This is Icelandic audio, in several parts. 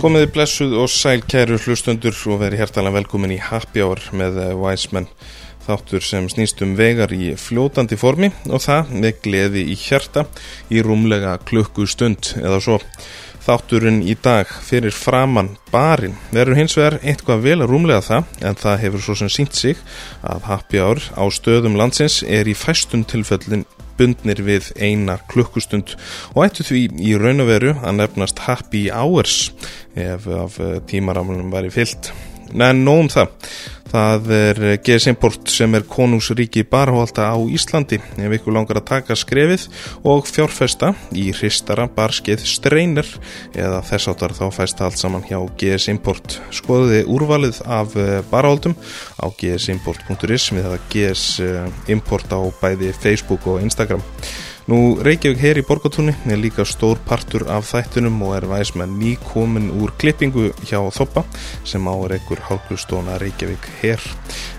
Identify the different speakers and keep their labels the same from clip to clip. Speaker 1: Komiði blessuð og sæl kæru hlustundur og verið hjertalega velkomin í Happy Hour með eh, Wiseman þáttur sem snýst um vegar í fljótandi formi og það með gleði í hjarta í rúmlega klukkustund eða svo. Þátturinn í dag fyrir framann barinn verður hins vegar eitthvað vel að rúmlega það en það hefur svo sem sínt sig að Happy Hour á stöðum landsins er í fæstum tilfellin bundnir við eina klukkustund og ættu því í raun og veru að nefnast Happy Hours ef af eh, tímaramlunum væri fyllt. En nóg um það. Það er GS Import sem er konungsríki barhólda á Íslandi ef ykkur langar að taka skrefið og fjárfesta í hristara barskeið streynir eða þess áttar þá fæst allt saman hjá GS Import. Skoðuði úrvalið af barhóldum á gsimport.is við það GS Import á bæði Facebook og Instagram. Nú, Reykjavík hér í Borgatúni er líka stór partur af þættunum og er væsmenn nýkomin úr klippingu hjá Þoppa sem á er ekkur hálfustóna Reykjavík hér.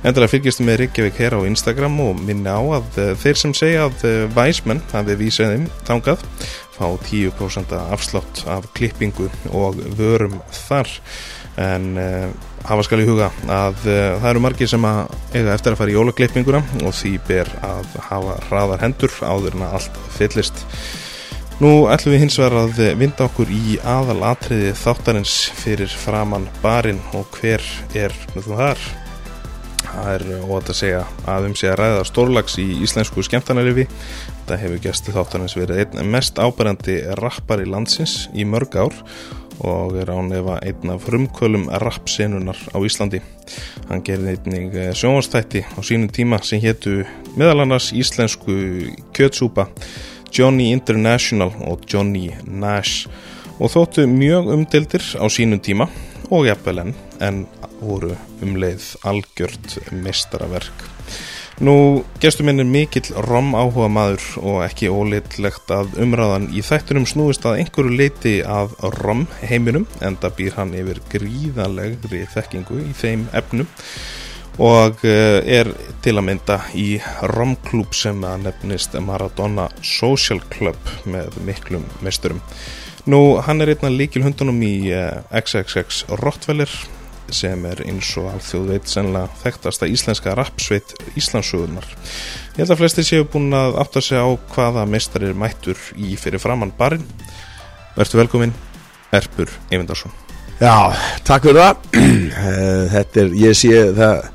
Speaker 1: Endilega fylgjastu með Reykjavík hér á Instagram og minna á að eh, þeir sem segja að eh, væsmenn hafi vísað þeim þangað fá 10% afslátt af klippingu og vörum þar en uh, hafa skal í huga að uh, það eru margir sem að eiga eftir að fara í jólaklippinguna og því ber að hafa hraðar hendur áður en að allt fyllist Nú ætlum við hins vegar að vinda okkur í aðal atriði þáttarins fyrir framann barinn og hver er þar? Það er óvægt að segja að um sé að ræða stórlags í íslensku skemmtanarifi. Þetta hefur gæsti þáttarins verið einn mest ábærandi rappari landsins í mörg ár og er án efa einn af frumkvölum rappsenunar á Íslandi. Hann gerði einnig eh, sjónvarstætti á sínum tíma sem hétu meðal annars íslensku kjötsúpa Johnny International og Johnny Nash og þóttu mjög umdildir á sínum tíma og jafnvel enn en voru um leið algjört meistaraverk. Nú, gestur minn er mikill rom áhuga maður og ekki óleitlegt að umræðan í þættunum snúist að einhverju leiti að rom heiminum en það býr hann yfir gríðanlegri þekkingu í þeim efnum og eh, er til að mynda í romklúb sem að nefnist Maradona Social Club með miklum meisturum. Nú, hann er einn af líkilhundunum í eh, XXX Rottweiler sem er eins og alþjóð veit sennilega þekktasta íslenska rapsveit Íslandsögunar. Ég held að flestir séu búin að átta sig á hvaða meistarir mættur í fyrir framann barinn. Vertu velkominn, Erpur Eyvindarsson.
Speaker 2: Já, takk fyrir það Eh, Þetta er, ég sé það,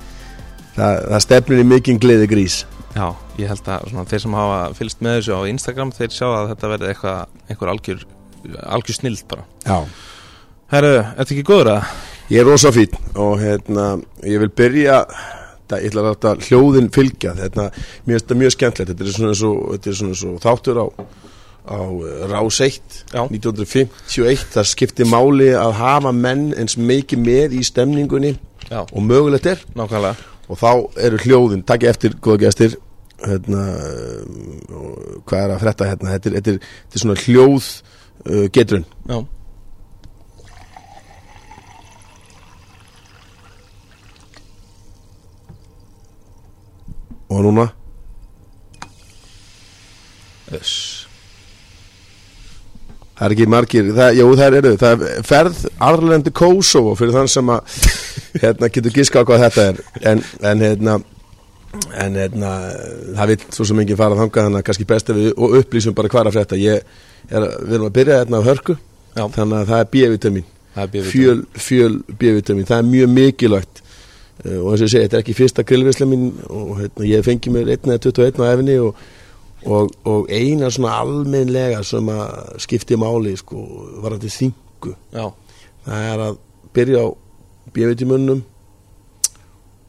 Speaker 2: það, það stefnir í mikinn gleði grís
Speaker 1: Já, ég held að svona, þeir sem hafa fylgst með þessu á Instagram þeir sjá að þetta verði eitthvað, einhver algjör, algjör snild bara.
Speaker 2: Já
Speaker 1: Herru, ertu ekki góður að?
Speaker 2: Ég er rosa fín og hérna, ég vil byrja það, ég ætla að láta hljóðin fylgja hérna, mér finnst þetta mjög skemmtilegt þetta er svona svo, þetta er svona svo þáttur á á eh, Rás 1
Speaker 1: Já.
Speaker 2: 1951, það skipti máli að hafa menn eins mikið með í stemningunni
Speaker 1: Já,
Speaker 2: og mögulegt er
Speaker 1: nákvæmlega.
Speaker 2: og þá eru hljóðin, takk ég eftir góða gestir hérna, um, og hvað er að frétta hérna þetta er, þetta er, þetta er svona hljóð uh, getrun
Speaker 1: Já.
Speaker 2: og núna
Speaker 1: Þess.
Speaker 2: það er ekki margir, það, jú það eru það er ferð Arlendi Kosovo fyrir þann sem að hérna, getur giska á hvað þetta er en, en hérna en hérna, það vil svo sem enginn fara þangað þannig að kannski best ef við og upplýsum bara hvað er að frétta ég er, að- við erum að byrja hérna á hörku
Speaker 1: Já.
Speaker 2: þannig að það er B-vitamin
Speaker 1: Það er bíðvitað.
Speaker 2: fjöl, fjöl B-vitamin, það er mjög mikilvægt uh, og eins og ég segi, þetta er ekki fyrsta grillvisla mín og hérna, ég fengi mér 1 eða 21 á efni og, og, og eina svona almennlega sem að skipti máli sko, varandi þingu
Speaker 1: Já,
Speaker 2: það er að byrja á B-vitamunum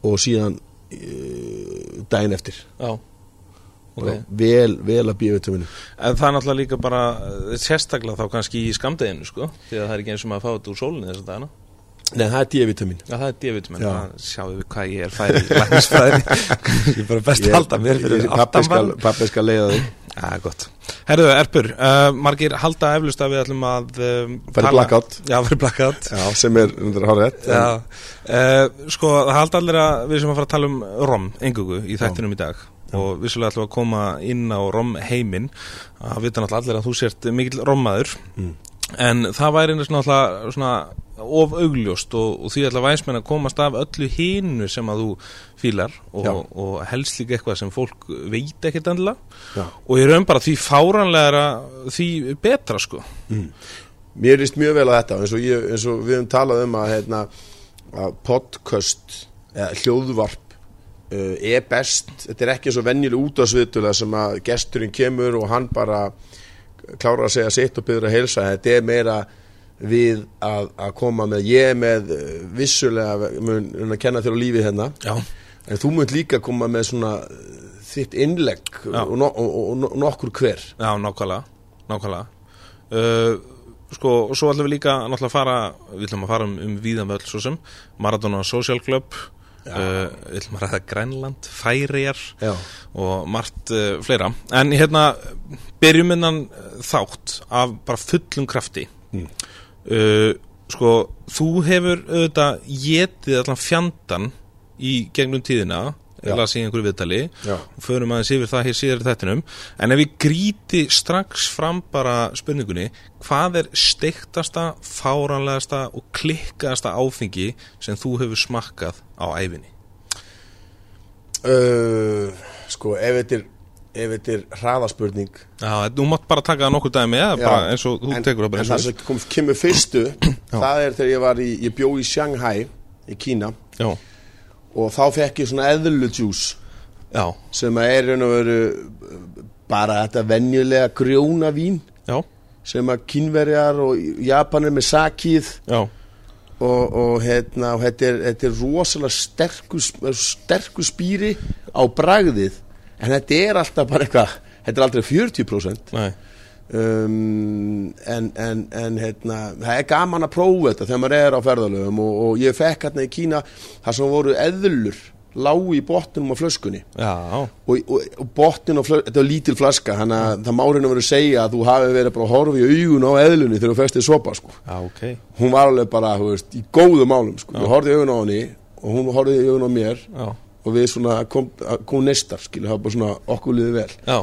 Speaker 2: og síðan uh, daginn eftir
Speaker 1: já.
Speaker 2: okay.
Speaker 1: Ok.
Speaker 2: vel, vel að B-vitamunum
Speaker 1: En það er náttúrulega líka bara eh, sérstaklega þá kannski í skamdeginu, sko. Því að það er ekki eins og maður að fá þetta úr sólinni þess að dagana.
Speaker 2: Nei, það er D-vitamin
Speaker 1: Já, það er D-vitamin.
Speaker 2: Já.
Speaker 1: það Sjáum við hvað ég er færi í læknisfræði. Ég er bara best að halda mér fyrir
Speaker 2: pappi
Speaker 1: aftan
Speaker 2: skal,
Speaker 1: mann.
Speaker 2: pappi skal leiða þig
Speaker 1: Já, gott. Herðu, Erpur, uh, margir halda eflust að við ætlum að... Um,
Speaker 2: Fara í
Speaker 1: tala-
Speaker 2: blackout.
Speaker 1: Já, fyrir blackout.
Speaker 2: Já, sem er undir að hára rétt
Speaker 1: Já, uh, sko það halda allir að við sem að fara að tala um ROM engugu í þættinum í dag og vissulega ætlum við að koma inn á ROM heiminn Mm. að vita náttúrulega allir að þú sért mikill ROM maður en það væri náttúrulega svona of augljóst og, og því ætla væsmenn að komast af öllu hinu sem að þú fílar
Speaker 2: Já.
Speaker 1: og, og helst líka eitthvað sem fólk veit ekkert endilega
Speaker 2: Já.
Speaker 1: og ég raun bara því fáranlegra því betra sko
Speaker 2: Mér líst mjög vel á þetta eins og, ég, eins og við höfum talað um að, hérna, að podcast eða hljóðvarp uh, er best, þetta er ekki eins og venjuleg útásviðtulega sem að gesturinn kemur og hann bara klárar að segja sitt og byrður að heilsa þetta er meira við að, að koma með ég er með eh, vissulega mun, mun að kenna þér á lífið hérna
Speaker 1: Já,
Speaker 2: en þú munt líka koma með svona eh, þitt innlegg
Speaker 1: Já.
Speaker 2: og, no, og, og, og nokkur hver
Speaker 1: Já nákvæmlega, nákvæmlega. Uh, sko, og svo ætlum við líka náttúrulega að fara, við ætlum að fara um, um víðanvöld svo sem, Maradona Social Club uh, við ætlum að ræða Grænland Færijar
Speaker 2: Já.
Speaker 1: og margt uh, fleira, en hérna byrjum innan uh, þátt af bara fullum krafti uh, sko, þú hefur auðvitað getið allan fjandan í gegnum tíðina
Speaker 2: Já.
Speaker 1: las í einhverju viðtali
Speaker 2: Já.
Speaker 1: og förum aðeins yfir það hér síðar í þættinum en ef við gríti strax fram bara spurningunni, hvað er steiktasta, fáranlegasta og klikkaðasta áfengi sem þú hefur smakkað á æfinni?
Speaker 2: Uh, sko, ef þetta er ef þetta er hraðaspurning
Speaker 1: Já, þú mátt bara taka það nokkur dæmi eða bara eins og þú
Speaker 2: en,
Speaker 1: tekur það bara
Speaker 2: en
Speaker 1: eins
Speaker 2: það
Speaker 1: og
Speaker 2: sem kom, kemur fyrstu það er þegar ég var í, ég bjó í Shanghai í Kína
Speaker 1: Já,
Speaker 2: og þá fekk ég svona eðluljús
Speaker 1: já,
Speaker 2: sem að er raun og veru uh, bara þetta venjulega grjóna vín
Speaker 1: já,
Speaker 2: sem að kínverjar og japanir með sakið
Speaker 1: já
Speaker 2: og, og, hérna, og þetta, er, þetta er rosalega sterku, sterku spýri á bragðið en þetta er alltaf bara eitthvað þetta er aldrei 40%
Speaker 1: Nei,
Speaker 2: um, en, en, en hérna, það er gaman að prófa þetta þegar maður er á ferðalöfum og, og ég fekk hérna í Kína þar sem voru eðlur lágu í botnum á flöskunni
Speaker 1: já,
Speaker 2: og, og, og botnin á flöskunni, þetta var lítil flaska þannig að það márinu verið að segja að þú hafi verið bara að horfa í augun á eðlunni þegar þú festið sopa sko.
Speaker 1: já, ok
Speaker 2: hún var alveg bara, þú veist, í góðum málum sko. ég horfði í augun á henni og hún horfði í augun á mér
Speaker 1: Já,
Speaker 2: og við svona kom, kom nestar, skilu, það var bara svona okkur liði vel
Speaker 1: já,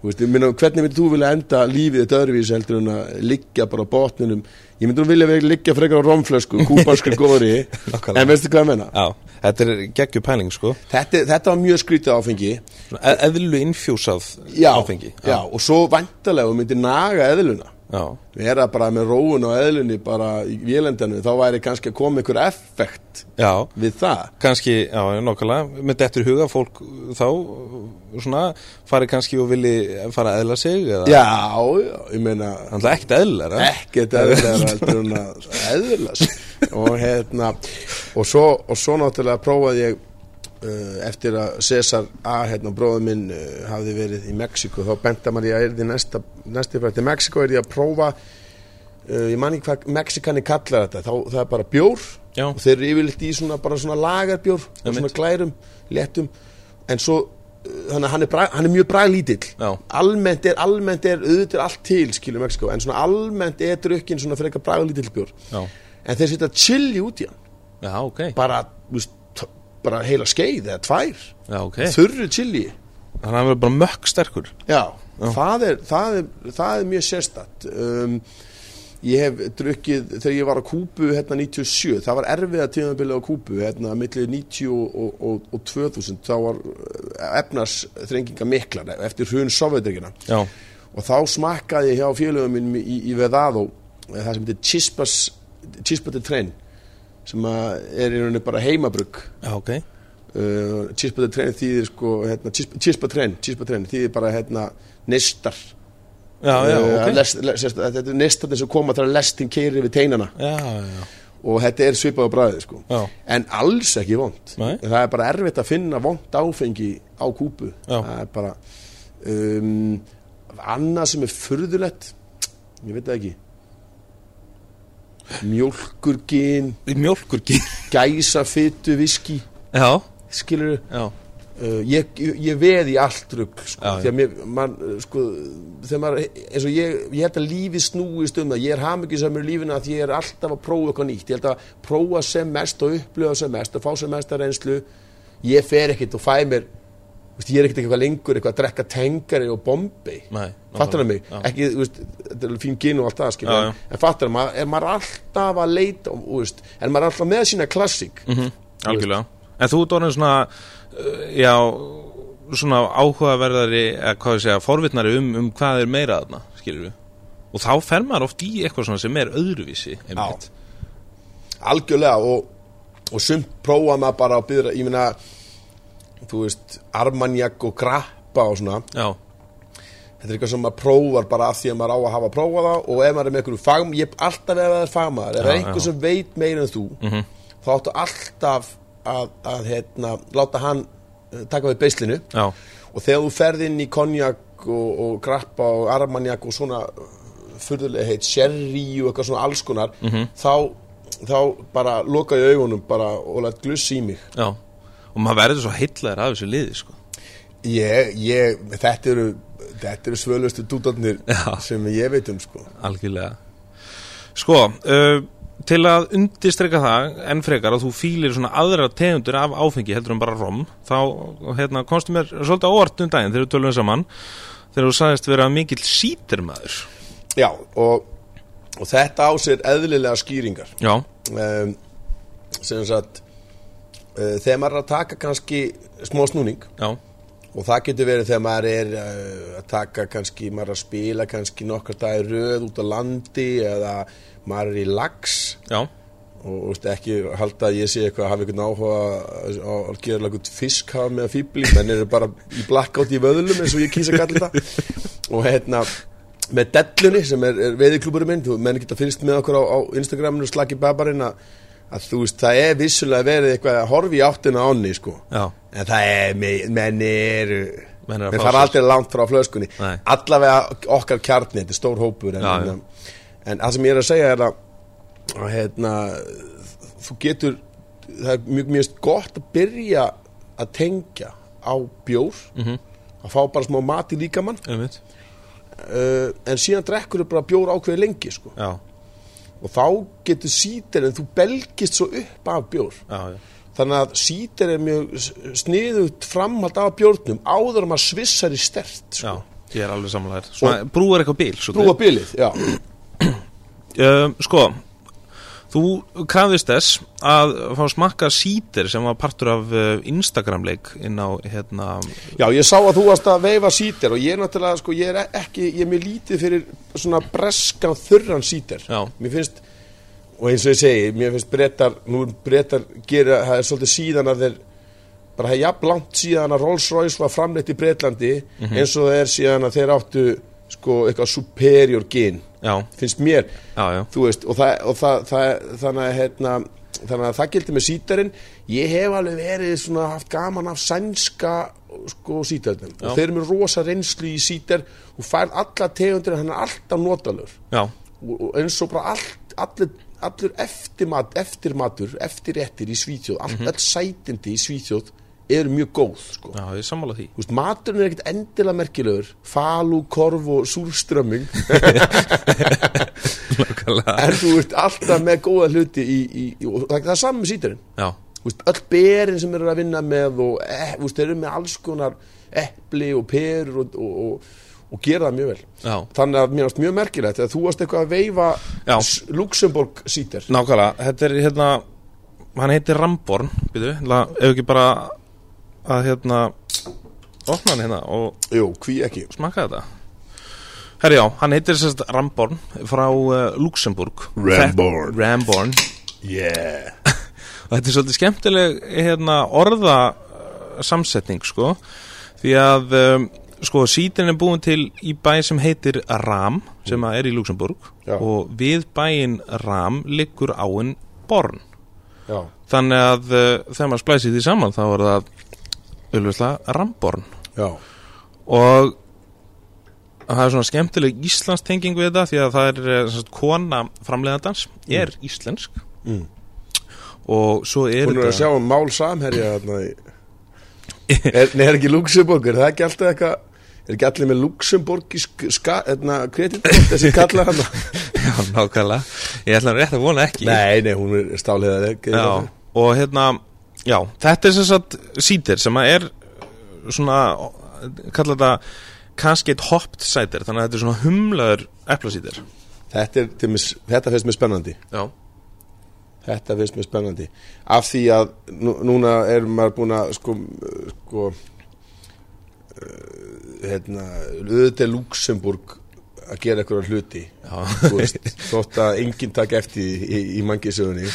Speaker 2: Þú Veist, ég minna, hvernig myndir þú vilja enda lífið þetta öðruvísi heldur en að liggja bara á botninum ég myndir þú vilja vera- liggja frekar á romflösku kúpanskri góri
Speaker 1: Nákvæmlega.
Speaker 2: en veistu hvað ég menna
Speaker 1: já Þetta er geggju pæling sko
Speaker 2: þetta, þetta var mjög skrítið áfengi
Speaker 1: E- eðlu innfjúsað
Speaker 2: já,
Speaker 1: áfengi
Speaker 2: já, og svo vantarlega þú myndir naga eðluna
Speaker 1: já,
Speaker 2: vera bara með róun á eðlunni bara í vélendanu þá væri kannski að koma einhver effekt
Speaker 1: já.
Speaker 2: við það
Speaker 1: kannski, já, nákvæmlega með dettur í huga að fólk þá svona, fari kannski og vilji fara að eðla sig eða
Speaker 2: já, já, ég meina
Speaker 1: hann er ekkert eðlar
Speaker 2: ekkert eðlilega heldur en að eðla sig og hérna og svo, og svo náttúrulega prófaði ég uh, eftir að César A hérna bróður minn uh, hafði verið í Mexiko þá benda maður ég að erði næsta næsti fyrir til Mexiko er ég að prófa uh, ég man ekki hvað Mexikani kallar þetta þá, það er bara bjór
Speaker 1: Já.
Speaker 2: og þeir eru yfirleitt í svona bara svona lagarbjór og
Speaker 1: Einmitt.
Speaker 2: svona glærum, léttum en svo uh, þannig að hann er, brag, hann er mjög braglítill
Speaker 1: Já.
Speaker 2: almennt er, almennt er, auðvitað er allt til skilur Mexiko, en svona almennt er drukkin svona frekar braglítillbjór
Speaker 1: Já.
Speaker 2: en þeir setja chili út í hann
Speaker 1: já, ok,
Speaker 2: bara, þú veist, t- bara heila skeið eða tvær,
Speaker 1: já, ok
Speaker 2: þurru chili
Speaker 1: þannig að hann verður bara mökk sterkur
Speaker 2: Eh. já, Það, er, það, er, það er mjög sérstatt um, ég hef drukkið þegar ég var á Kúbu hérna 97 það var erfiða tíðanbilið á Kúbu hérna millir 90 og, og, og, og 2000 þá var efnarsþrenginga miklar eftir hrun sovjetryggjana
Speaker 1: já,
Speaker 2: og þá smakkaði ég hjá félögum mínum í, í Vedado eh, það sem heitir Chispas Chispa de Tren sem að er í rauninni bara heimabrugg
Speaker 1: já, ok
Speaker 2: uh, Chispa de Tren þýðir sko hérna, Chispa, Chispa Tren, Chispa Tren þýðir bara hérna nestar
Speaker 1: já, já,
Speaker 2: Eh,
Speaker 1: ok já,
Speaker 2: lest, lest, sérst- þetta er nestarnir sem koma þegar lestin keiri við teinana
Speaker 1: já, já,
Speaker 2: og þetta er svipað á bræði sko.
Speaker 1: Já.
Speaker 2: en alls ekki vond
Speaker 1: Nei.
Speaker 2: það er bara erfitt að finna vond áfengi á kúpu
Speaker 1: Já.
Speaker 2: það er bara um, annað sem er furðulegt ég veit það ekki mjólkurgin
Speaker 1: mjólkur gín
Speaker 2: gæsafytu viski
Speaker 1: já,
Speaker 2: skilur
Speaker 1: já,
Speaker 2: Uh, ég, ég, ég veð í allt rugg sko,
Speaker 1: Já, já.
Speaker 2: því að mér, man, uh, sko, þegar maður, eins og ég, ég held að lífið snúist um það, ég er hamingisamur í lífinu að því ég er alltaf að prófa eitthvað nýtt, ég held að prófa sem mest og upplifa sem mest og fá sem mest að reynslu, ég fer ekkit og fæ mér veist, ég er ekkert eitthvað lengur eitthvað að drekka tengari og bombay
Speaker 1: Nei,
Speaker 2: fattar það mig,
Speaker 1: já.
Speaker 2: ekki, þú veist þetta er alveg fín gin og allt það, skilja
Speaker 1: Já, já.
Speaker 2: en, en fattar það, maður, er maður alltaf að leita og, þú veist, en maður er alltaf með sína klassik
Speaker 1: Mhm. Hm, algjörlega en þú ert orðin svona uh, já, svona áhugaverðari eða hvað ég segja, forvitnari um, um hvað er meira þarna, skilur við og þá fer maður oft í eitthvað svona sem er öðruvísi einmitt.
Speaker 2: algjörlega og, og sumt prófa maður bara að byrja, ég meina þú veist, armanjak og grappa og svona,
Speaker 1: já,
Speaker 2: þetta er eitthvað sem maður prófar bara af því að maður á að hafa prófað það og ef maður er með einhverju fagm, ég er alltaf ef það er fagmaður, ef
Speaker 1: Já,
Speaker 2: það er einhver
Speaker 1: já. Mhm.
Speaker 2: sem veit meira en þú þá áttu alltaf að, að hérna, láta hann eh, taka við beislinu
Speaker 1: já,
Speaker 2: og þegar þú ferð inn í konjak og, og grappa og armanjak og svona furðulega heit sherry og eitthvað svona alls konar þá, þá bara loka ég augunum bara og lætt gluss í mig
Speaker 1: já og maður verður svo heillar af þessu liði sko.
Speaker 2: ég, ég, þetta eru þetta eru svölustu dúdarnir
Speaker 1: Já.
Speaker 2: sem ég veit um sko
Speaker 1: algjörlega sko, uh, til að undistreka það enn frekar að þú fýlir svona aðra tegundur af áfengi heldur en bara rom þá hérna, komstu mér svolítið á óvart um daginn þegar við tölum saman þegar þú sagðist vera mikill sítirmaður
Speaker 2: já, og, og þetta á sér eðlilega skýringar
Speaker 1: já,
Speaker 2: um, sem sagt uh, þegar maður er að taka kannski smá snúning
Speaker 1: já,
Speaker 2: og það getur verið þegar maður er uh, að taka kannski, maður er að spila kannski nokkar dagir röð út á landi eða maður er í lags
Speaker 1: já
Speaker 2: og þú veist, ekki halda að ég sé eitthvað að hafa einhvern áhuga á að gera eitthvað fisk hafa með að fýbli menn eru bara í blackout í vöðlum eins og ég kýsa kalla þetta og hérna með dellunni sem er, er veiðikluburinn minn, þú menn geta fyrst með okkur á, á Instagraminu slaki babarinn að, að þú veist, það er vissulega verið eitthvað að horfi í áttina ánni sko
Speaker 1: Já,
Speaker 2: En það er, me- menn eru
Speaker 1: Menn
Speaker 2: Menn
Speaker 1: eru að
Speaker 2: eru
Speaker 1: fá
Speaker 2: fara
Speaker 1: sér.
Speaker 2: aldrei langt frá flöskunni
Speaker 1: Nei.
Speaker 2: Allavega okkar kjarni, þetta er stór hópur En,
Speaker 1: Já, já.
Speaker 2: en, en það sem ég er að segja er að, að hérna, Þú getur Það er mjög mjög gott að byrja Að tengja á bjór
Speaker 1: Mhm.
Speaker 2: Að fá bara smá mat í líkamann
Speaker 1: einmitt
Speaker 2: uh, En síðan drekkur bara bjór ákveði lengi sko.
Speaker 1: Já,
Speaker 2: Og þá getur sítir En þú belgist svo upp af bjór
Speaker 1: já, já,
Speaker 2: þannig að sítir er mjög sniðugt framhald af bjórnum áður en maður svissar í stert
Speaker 1: já
Speaker 2: sko.
Speaker 1: Ég er alveg samlega þér Svona, brúar eitthvað bíl svo
Speaker 2: brúa bilið, já
Speaker 1: um, Sko, þú krafðist þess að fá smakka sítir sem var partur af uh, Instagram-leik inn á, hérna
Speaker 2: já, ég sá að þú varst að veifa sítir og ég er náttúrulega, sko, ég er ekki ég er mjög lítið fyrir svona breskan þurran sítir,
Speaker 1: Já.
Speaker 2: mér finnst og eins og ég segi, mér finnst brettar nú brettar gera, það er svolítið síðan að þeir bara það er jafn langt síðan að Rolls Royce var framleitt í Bretlandi
Speaker 1: Mhm.
Speaker 2: eins og það er síðan að þeir áttu sko, eitthvað superior gin
Speaker 1: Já,
Speaker 2: finnst mér
Speaker 1: já, já,
Speaker 2: þú veist, og, það, og það, það, þannig, að, hérna, þannig að það gildi með sítarinn ég hef alveg verið svona haft gaman af sænska sko, sítarnum
Speaker 1: Já.
Speaker 2: og þeir eru með rosa reynslu í sítar og færð alla tegundir hann er alltaf notalur
Speaker 1: já,
Speaker 2: og, og eins og bara allt, allir, allir eftirmat, eftirmatur eftirrettir í Svíþjóð, all, all sætindi í Svíþjóð eru mjög góð sko.
Speaker 1: Mhm. já, ég er sammála því
Speaker 2: Þú veist, maturinn er ekkert endilega merkilegur falu, korf og súrströmming
Speaker 1: Nákvæmlega.
Speaker 2: en þú ert alltaf með góða hluti í, í, í, og það, það er saman með sítarinn
Speaker 1: Já,
Speaker 2: Vist, öll berin sem eru að vinna með og eh, vist, eru með alls konar epli og perur og, og, og, og gera það mjög vel
Speaker 1: já
Speaker 2: þannig að mér varst mjög merkilegt að þú varst eitthvað að veifa
Speaker 1: Já.
Speaker 2: S- Luxemburg sítar
Speaker 1: Nákvæmlega, þetta er hérna Hann heitir Ramborn, býtu hérna, Ef ekki bara að hérna Opna hann hérna og
Speaker 2: Jú, hví ekki
Speaker 1: smakka þetta Herri já, hann heitir sérst Ramborn frá uh, Luxemburg
Speaker 2: Ramborn.
Speaker 1: Þek- Ramborn
Speaker 2: yeah.
Speaker 1: og þetta er svolítið skemmtileg hérna, orða uh, samsetning sko því að um, sko sítin er búin til í bæ sem heitir Ram sem að er í Luxemburg
Speaker 2: Já.
Speaker 1: og við bæin Ram liggur áin Born
Speaker 2: Já.
Speaker 1: þannig að uh, þegar maður splæsir því saman þá er það auðvitað Ramborn
Speaker 2: Já.
Speaker 1: og það er svona skemmtileg íslensk tenging við þetta því að það er eh, sem sagt, kona framleiðandans er íslensk
Speaker 2: Mm.
Speaker 1: og svo er
Speaker 2: Hún er að sjá um mál samherja þarna í- er, Nei, er ekki Luxemburg er það ekki alltaf eitthvað er ekki allir með Luxemburg í kreditkort þessi kalla hann
Speaker 1: já, nákvæmlega ég ætla hann rétt að vona ekki
Speaker 2: Nei, nei, hún er stáliðað
Speaker 1: já, og hérna já, þetta er sem sagt sítir sem að er svona, kalla þetta cascade hopped cider, þannig að þetta er svona humlaður eplasítir.
Speaker 2: Þetta, er, til mis, þetta finnst mér spennandi
Speaker 1: Já.
Speaker 2: Þetta finnst mér spennandi Af því að nú, núna er maður búin að sko, sko eh, hérna, auðvitað er Luxemburg að gera eitthvað hluti
Speaker 1: Já.
Speaker 2: þú veist, þótt að enginn takk eftir því í, í mangisögunni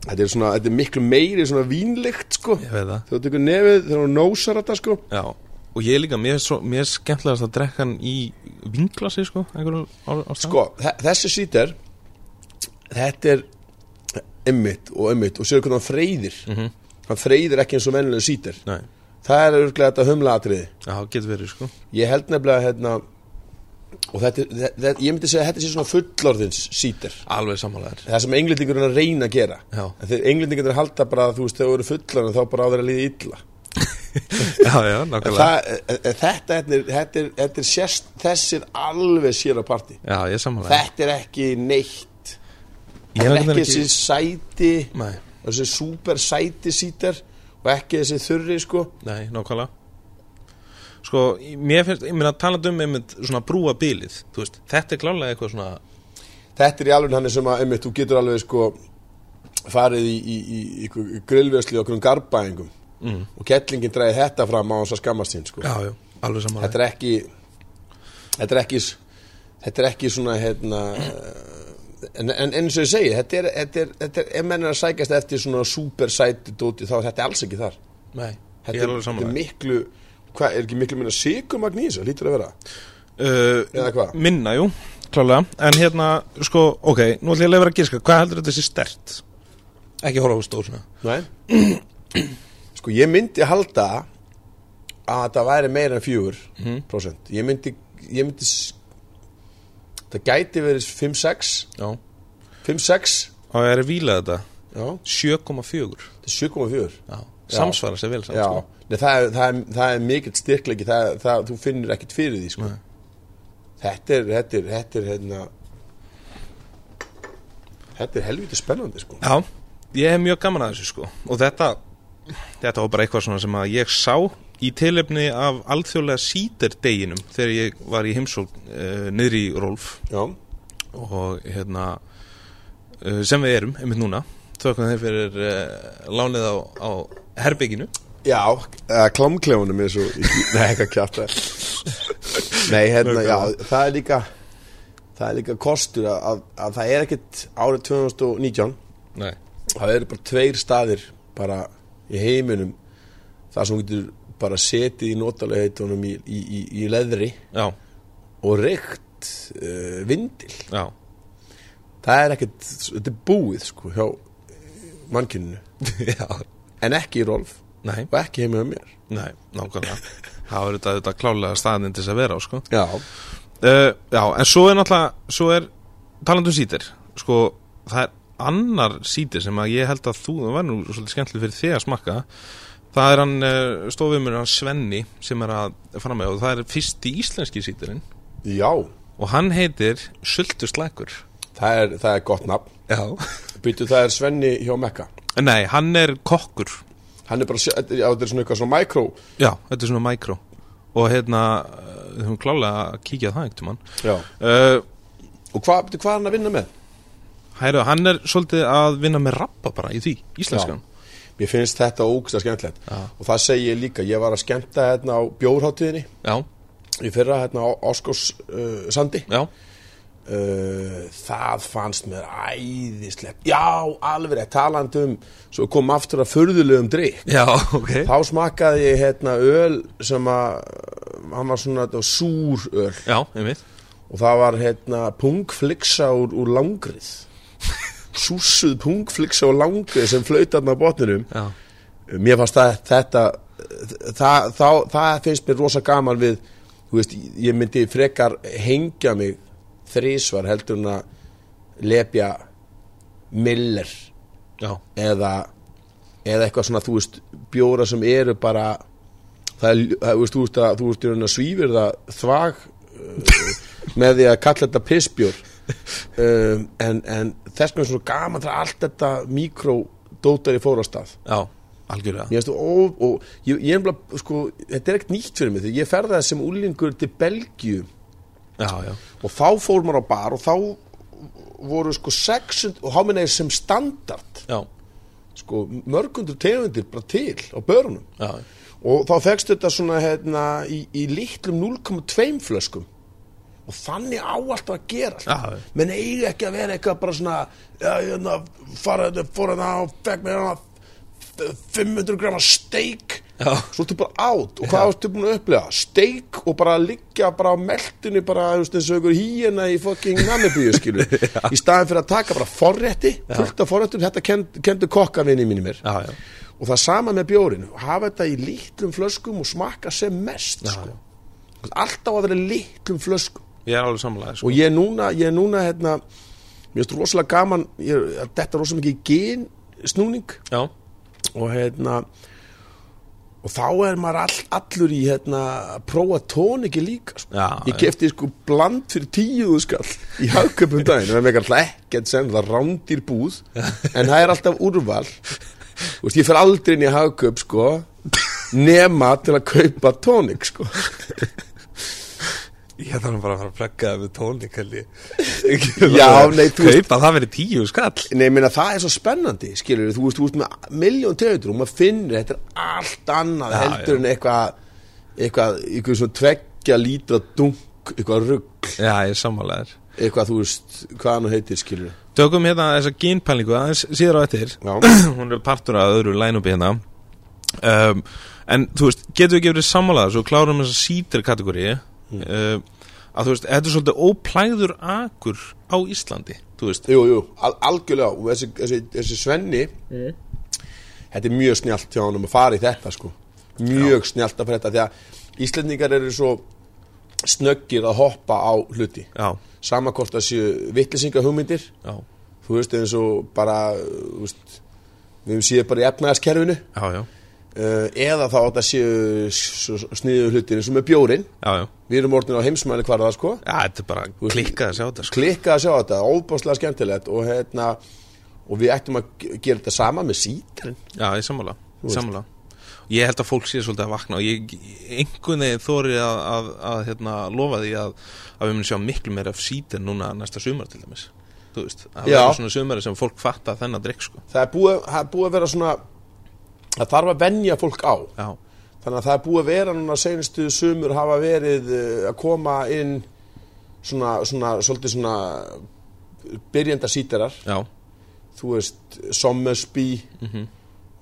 Speaker 2: Þetta er svona, þetta er miklu meiri svona vínlegt sko
Speaker 1: Ég veit það.
Speaker 2: Þú tekur nefið þegar hún nósar þetta sko
Speaker 1: Já. Og ég líka, mér er, svo, mér er skemmtilegast að drekka hann í vinglasi, sko, einhverju á, á stað.
Speaker 2: Sko, þe- þessi sítar Þetta er Emmitt og emmitt og séu hvernig hann freyðir
Speaker 1: Mhm.
Speaker 2: Hann freyðir ekki eins og venlega sítar
Speaker 1: Nei,
Speaker 2: Það er örglega þetta humla atriði
Speaker 1: já, getur verið, sko.
Speaker 2: Ég held nefnilega hérna Og þetta, þetta, þetta, ég myndi segja að þetta sé svona fullorðins sítar
Speaker 1: Alveg sammálaður.
Speaker 2: það sem englendingur er að reyna að gera
Speaker 1: Já.
Speaker 2: En þeir englendingur er að halda bara að þú veist þegar þú eru fullan en þá bara á þeir að líða illa
Speaker 1: já, já,
Speaker 2: En
Speaker 1: nákvæmlega.
Speaker 2: það, e- e- þetta, þetta er, þetta er, þetta er sérst, þessi er alveg sér á parti
Speaker 1: Já, ég er sammálaður.
Speaker 2: þetta er ekki neitt
Speaker 1: Ég er
Speaker 2: þetta er
Speaker 1: einhvern veginn
Speaker 2: ekki þessi sæti
Speaker 1: Nei,
Speaker 2: þessi súper sæti sítar og ekki þessi þurri sko
Speaker 1: nei, nákvæmlega Sko, mér finnst, ég meina talandi um einmitt svona brúa bílið, þú veist, þetta er klálega eitthvað svona
Speaker 2: þetta er í alveg hann sem að einmitt, þú getur alveg sko farið í, í, í, í, í grillvjösli og okkur um garbaðingum mm. og kettlingin dræði þetta fram á hans að skammast sín sko.
Speaker 1: Já, já, alveg samanlega
Speaker 2: þetta er ekki þetta er ekki þetta er ekki svona hérna en, en eins og ég segi þetta er, þetta er, þetta er ef menn er að sækast eftir svona super sæti dóti þá er þetta alls ekki þar
Speaker 1: Nei,
Speaker 2: þetta
Speaker 1: ég er alveg
Speaker 2: þetta er
Speaker 1: samanlega
Speaker 2: miklu hvað, er ekki miklu minna sigurmagn í þessu lítur að vera Eða
Speaker 1: uh,
Speaker 2: hvað?
Speaker 1: Minna, jú, klálega En hérna, sko, ok, nú ætlum ég að lefa að gíska Hvað heldur þetta sé stert? Ekki horfa á stór svona
Speaker 2: nei sko ég myndi halda að það væri meira en fjögur prosent ég myndi, ég myndi s- það gæti verið 5-6
Speaker 1: Já
Speaker 2: 5-6
Speaker 1: Og er að víla þetta
Speaker 2: já,
Speaker 1: 7,4
Speaker 2: þetta er 7,4
Speaker 1: Já Samsvara sér vel samt,
Speaker 2: Já,
Speaker 1: sko
Speaker 2: Nei, það, er, það, er, það er mikill styrkleiki það, það, þú finnir ekkert fyrir því sko.
Speaker 1: Nei.
Speaker 2: þetta er þetta er, þetta er, hérna, þetta er helviti spennandi sko.
Speaker 1: Já, ég hef mjög gaman að þessu sko og þetta, þetta var bara eitthvað svona sem að ég sá í tilefni af alþjóðlega síterdeginum þegar ég var í heimsók uh, niðri í Rolf
Speaker 2: já,
Speaker 1: og hérna uh, sem við erum, einmitt núna þökkum þeir fyrir uh, lánið á, á herbygginu
Speaker 2: já eða klámklefunum er svo nei, eitthvað kjátt nei, hérna, já, það er líka það er líka kostur að, að, að það er ekkert árið 2019
Speaker 1: Nei.
Speaker 2: það eru bara tveir staðir bara í heiminum þar sem þú getur bara setið í notalegaitunum í, í, í, í leðri
Speaker 1: Já,
Speaker 2: og reykt uh, vindil
Speaker 1: já,
Speaker 2: það er ekkert, þetta er búið sko hjá mannkyninu
Speaker 1: já
Speaker 2: en ekki í Rolf
Speaker 1: Nei,
Speaker 2: og ekki heim hjá mér
Speaker 1: nei, nákvæmlega Það var þetta, þetta klálega staðin til þess að vera á sko
Speaker 2: já,
Speaker 1: uh, Já, en svo er náttúrulega svo er talandum sítir sko, það er annar sítir sem að ég held að þú, það var nú svolítið skemmtileg fyrir þig að smakka það er hann, uh, stofumur hann Svenni sem er að fara með og það er fyrsti íslenski sítirinn
Speaker 2: já
Speaker 1: og hann heitir Sultuslækur
Speaker 2: það er, það er gott nafn
Speaker 1: Já
Speaker 2: býtu það er Svenni hjá Mekka
Speaker 1: Nei, hann er kokkur
Speaker 2: hann er bara, sjö- þetta er- já, þetta er svona eitthvað svona micro
Speaker 1: Já, þetta er svona mækró og hérna, uh, við höfum klálega að kíkja á það einhvern mann
Speaker 2: já.
Speaker 1: uh,
Speaker 2: og hvað, býtu hvað er hann að vinna með?
Speaker 1: Hæru, hann er svolítið að vinna með rappa bara í því, íslenskan
Speaker 2: mér finnst þetta ógæslega skemmtilegt
Speaker 1: Já.
Speaker 2: og það segi ég líka, ég var að skemmta hérna á bjórháttíðinni
Speaker 1: Já,
Speaker 2: í fyrra hérna á Áskos uh, sandi
Speaker 1: já,
Speaker 2: uh, það fannst mér æðislegt já, alveg rétt, talandi um svo kom aftur að furðulegum drikk
Speaker 1: já, ok
Speaker 2: þá smakkaði ég hérna öl sem að uh, hann var svona þetta var súr öl
Speaker 1: Já, einmitt
Speaker 2: og það var hérna pungfliksa úr, úr langrið súsuð pungfliksa úr langrið sem flautarna á botninum
Speaker 1: Já,
Speaker 2: mér fannst það, þetta það, þá, það finnst mér rosa gaman við þú veist, ég myndi frekar hengja mig þrísvar heldur en að lepja miller
Speaker 1: já,
Speaker 2: eða, eða eitthvað svona þú veist, bjóra sem eru bara það er, það- þú veist, þú veist að þú veist, þú veist, svífur það þvag uh, með því að kalla þetta pissbjór um, en, en þess með svona gaman það er allt þetta mikró dótari fór á stað
Speaker 3: já, algjörlega
Speaker 2: Mér finnst þú, ó, og ég, ég er bara, sko, þetta er ekkert nýtt fyrir mig því ég ferðaði sem úlingur til Belgíu
Speaker 3: já, já,
Speaker 2: og þá fór maður á bar og þá voru sko 600 og háminni er sem standard
Speaker 3: já,
Speaker 2: sko mörgundur tegundir bara til á börunum
Speaker 3: já,
Speaker 2: og þá fegst þetta svona hérna í, í litlum 0,2 flöskum og þannig á alltaf að gera allt.
Speaker 3: Já, já.
Speaker 2: menn eigi ekki að vera eitthvað bara svona já, hérna, fara þetta, fór hérna og fekk mér hérna 500 grama steik
Speaker 3: Já.
Speaker 2: svo ertu bara átt og hvað ertu búin að upplega steik og bara liggja bara á meldunni bara þú veist, eins og ykkur híina í fucking namibíu skilu í staðin fyrir að taka bara forrétti fullt af forréttum, þetta kend, kendur kokkavinni mínir mér
Speaker 3: já, já.
Speaker 2: og það sama með bjórin hafa þetta í litlum flöskum og smakka sem mest sko. alltaf að vera í litlum flöskum
Speaker 3: Ég er alveg samlega sko.
Speaker 2: og ég er núna, ég er núna hérna, mér finnst rosalega gaman ég, er- að þetta er rosalega mikið í gen snúning
Speaker 3: Já,
Speaker 2: og hérna og þá er maður all, allur í hérna að prófa tóniki líka sko.
Speaker 3: Já,
Speaker 2: ég
Speaker 3: já.
Speaker 2: kefti sko bland fyrir tíuðu skall í hagköpum daginn það er megar alltaf ekkert sem það rándir búð en það er alltaf úrval Þú veist, ég fer aldrei inn í hagköp sko nema til að kaupa tónik sko
Speaker 3: ég þarf bara að fara að plugga það með tónlík
Speaker 2: Já, nei, þú veist-
Speaker 3: Kaupa það verið tíu skall
Speaker 2: Nei, ég meina, það er svo spennandi, skilur þú veist, þú veist með miljón tegundur og maður finnur þetta er allt annað
Speaker 3: Já,
Speaker 2: heldur en eitthvað eitthvað, eitthvað svona tveggja lítra dunk eitthvað rugg,
Speaker 3: Já, ég er samlega þér
Speaker 2: eitthvað þú veist hvað hann heitir, skilur
Speaker 1: Tökum hérna þessa gínpælingu aðeins síðar á eftir
Speaker 2: Já,
Speaker 1: hún er partur af öðru lænubi hérna um, en þú veist, getur við gefur þér sammálaða svo klárum þessa sítir kategóri
Speaker 3: Mm.
Speaker 1: uh, að þú veist, þetta er svolítið óplæður akur á Íslandi þú veist,
Speaker 2: jú, jú, al algjörlega og þessi, þessi, þessi Svenni þetta er mjög snjált hjá hann að fara í þetta, sko mjög Já. snjált að fara í þetta, því að Íslendingar eru svo snöggir að hoppa á hluti
Speaker 1: já,
Speaker 2: sama hvort það séu vittlisinga
Speaker 1: já,
Speaker 2: þú veist eins og bara þú veist, við höfum síðan bara í efnaðaskerfinu
Speaker 1: já, já,
Speaker 2: uh, eða þá að það séu sniðu hlutir eins og með bjórin
Speaker 1: já, já.
Speaker 2: við erum orðin á heimsmæli hvar það sko
Speaker 1: Já, þetta er bara klikkað að sjá þetta sko.
Speaker 2: klikkað að sjá þetta, óbáslega skemmtilegt og hérna og við ættum að ge- gera þetta sama með sítarinn
Speaker 1: Já, ég sammála, sammála. Ég held að fólk sé svolítið að vakna og ég einhvern veginn þóri að, að, að hérna, lofa því að, að við munum sjá miklu meira af sítir núna næsta sumar til dæmis Þú veist, það
Speaker 2: Já.
Speaker 1: verður svona sumari sem fólk fatta þennan drikk sko
Speaker 2: það er búið, það er búið að vera svona það þarf að venja fólk á
Speaker 1: Já,
Speaker 2: þannig að það er búið að vera núna senstu sumur hafa verið uh, að koma inn svona, svona, svolítið svona byrjenda sítarar
Speaker 1: já,
Speaker 2: þú veist, Sommersby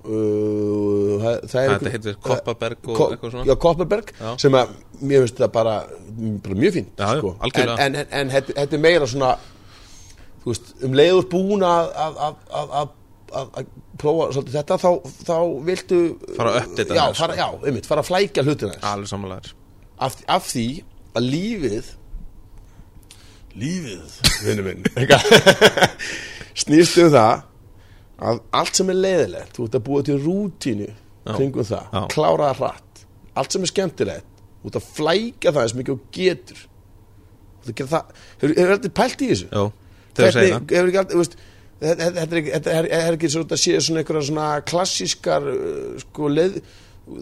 Speaker 2: uh, það, það er
Speaker 1: þetta Mhm. heitir Koppaberg og
Speaker 2: Ko-
Speaker 1: eitthvað svona
Speaker 2: Já, Koppaberg,
Speaker 1: Já.
Speaker 2: sem að mér finnst það bara, m- bara mjög fínt
Speaker 1: Já, já,
Speaker 2: sko. En,
Speaker 1: algjörlega.
Speaker 2: en, en, en þetta þetta er meira svona þú veist, um leiður búin að að, að, að, að að að prófa svolítið þetta þá, þá viltu
Speaker 1: Fara að sko. uppdata
Speaker 2: já,
Speaker 1: það,
Speaker 2: fara, já, einmitt, fara að flækja hlutina þess.
Speaker 1: Alveg sammálaður
Speaker 2: af, af því að lífið lífið vinnu minn eitthvað, snýst um það að allt sem er leiðilegt þú ert að búa til rútínu kringum það,
Speaker 1: Já.
Speaker 2: klára það hratt allt sem er skemmtilegt, þú ert að flæka það eins mikið og getur þú ert að gera það, hefur, hefur aldrei pælt í þessu
Speaker 1: Já, þegar segja það
Speaker 2: hefur ekki aldrei, þú veist þetta þetta er ekki, þetta er, er ekki svo þetta séu svona einhverja svona klassískar uh, sko leið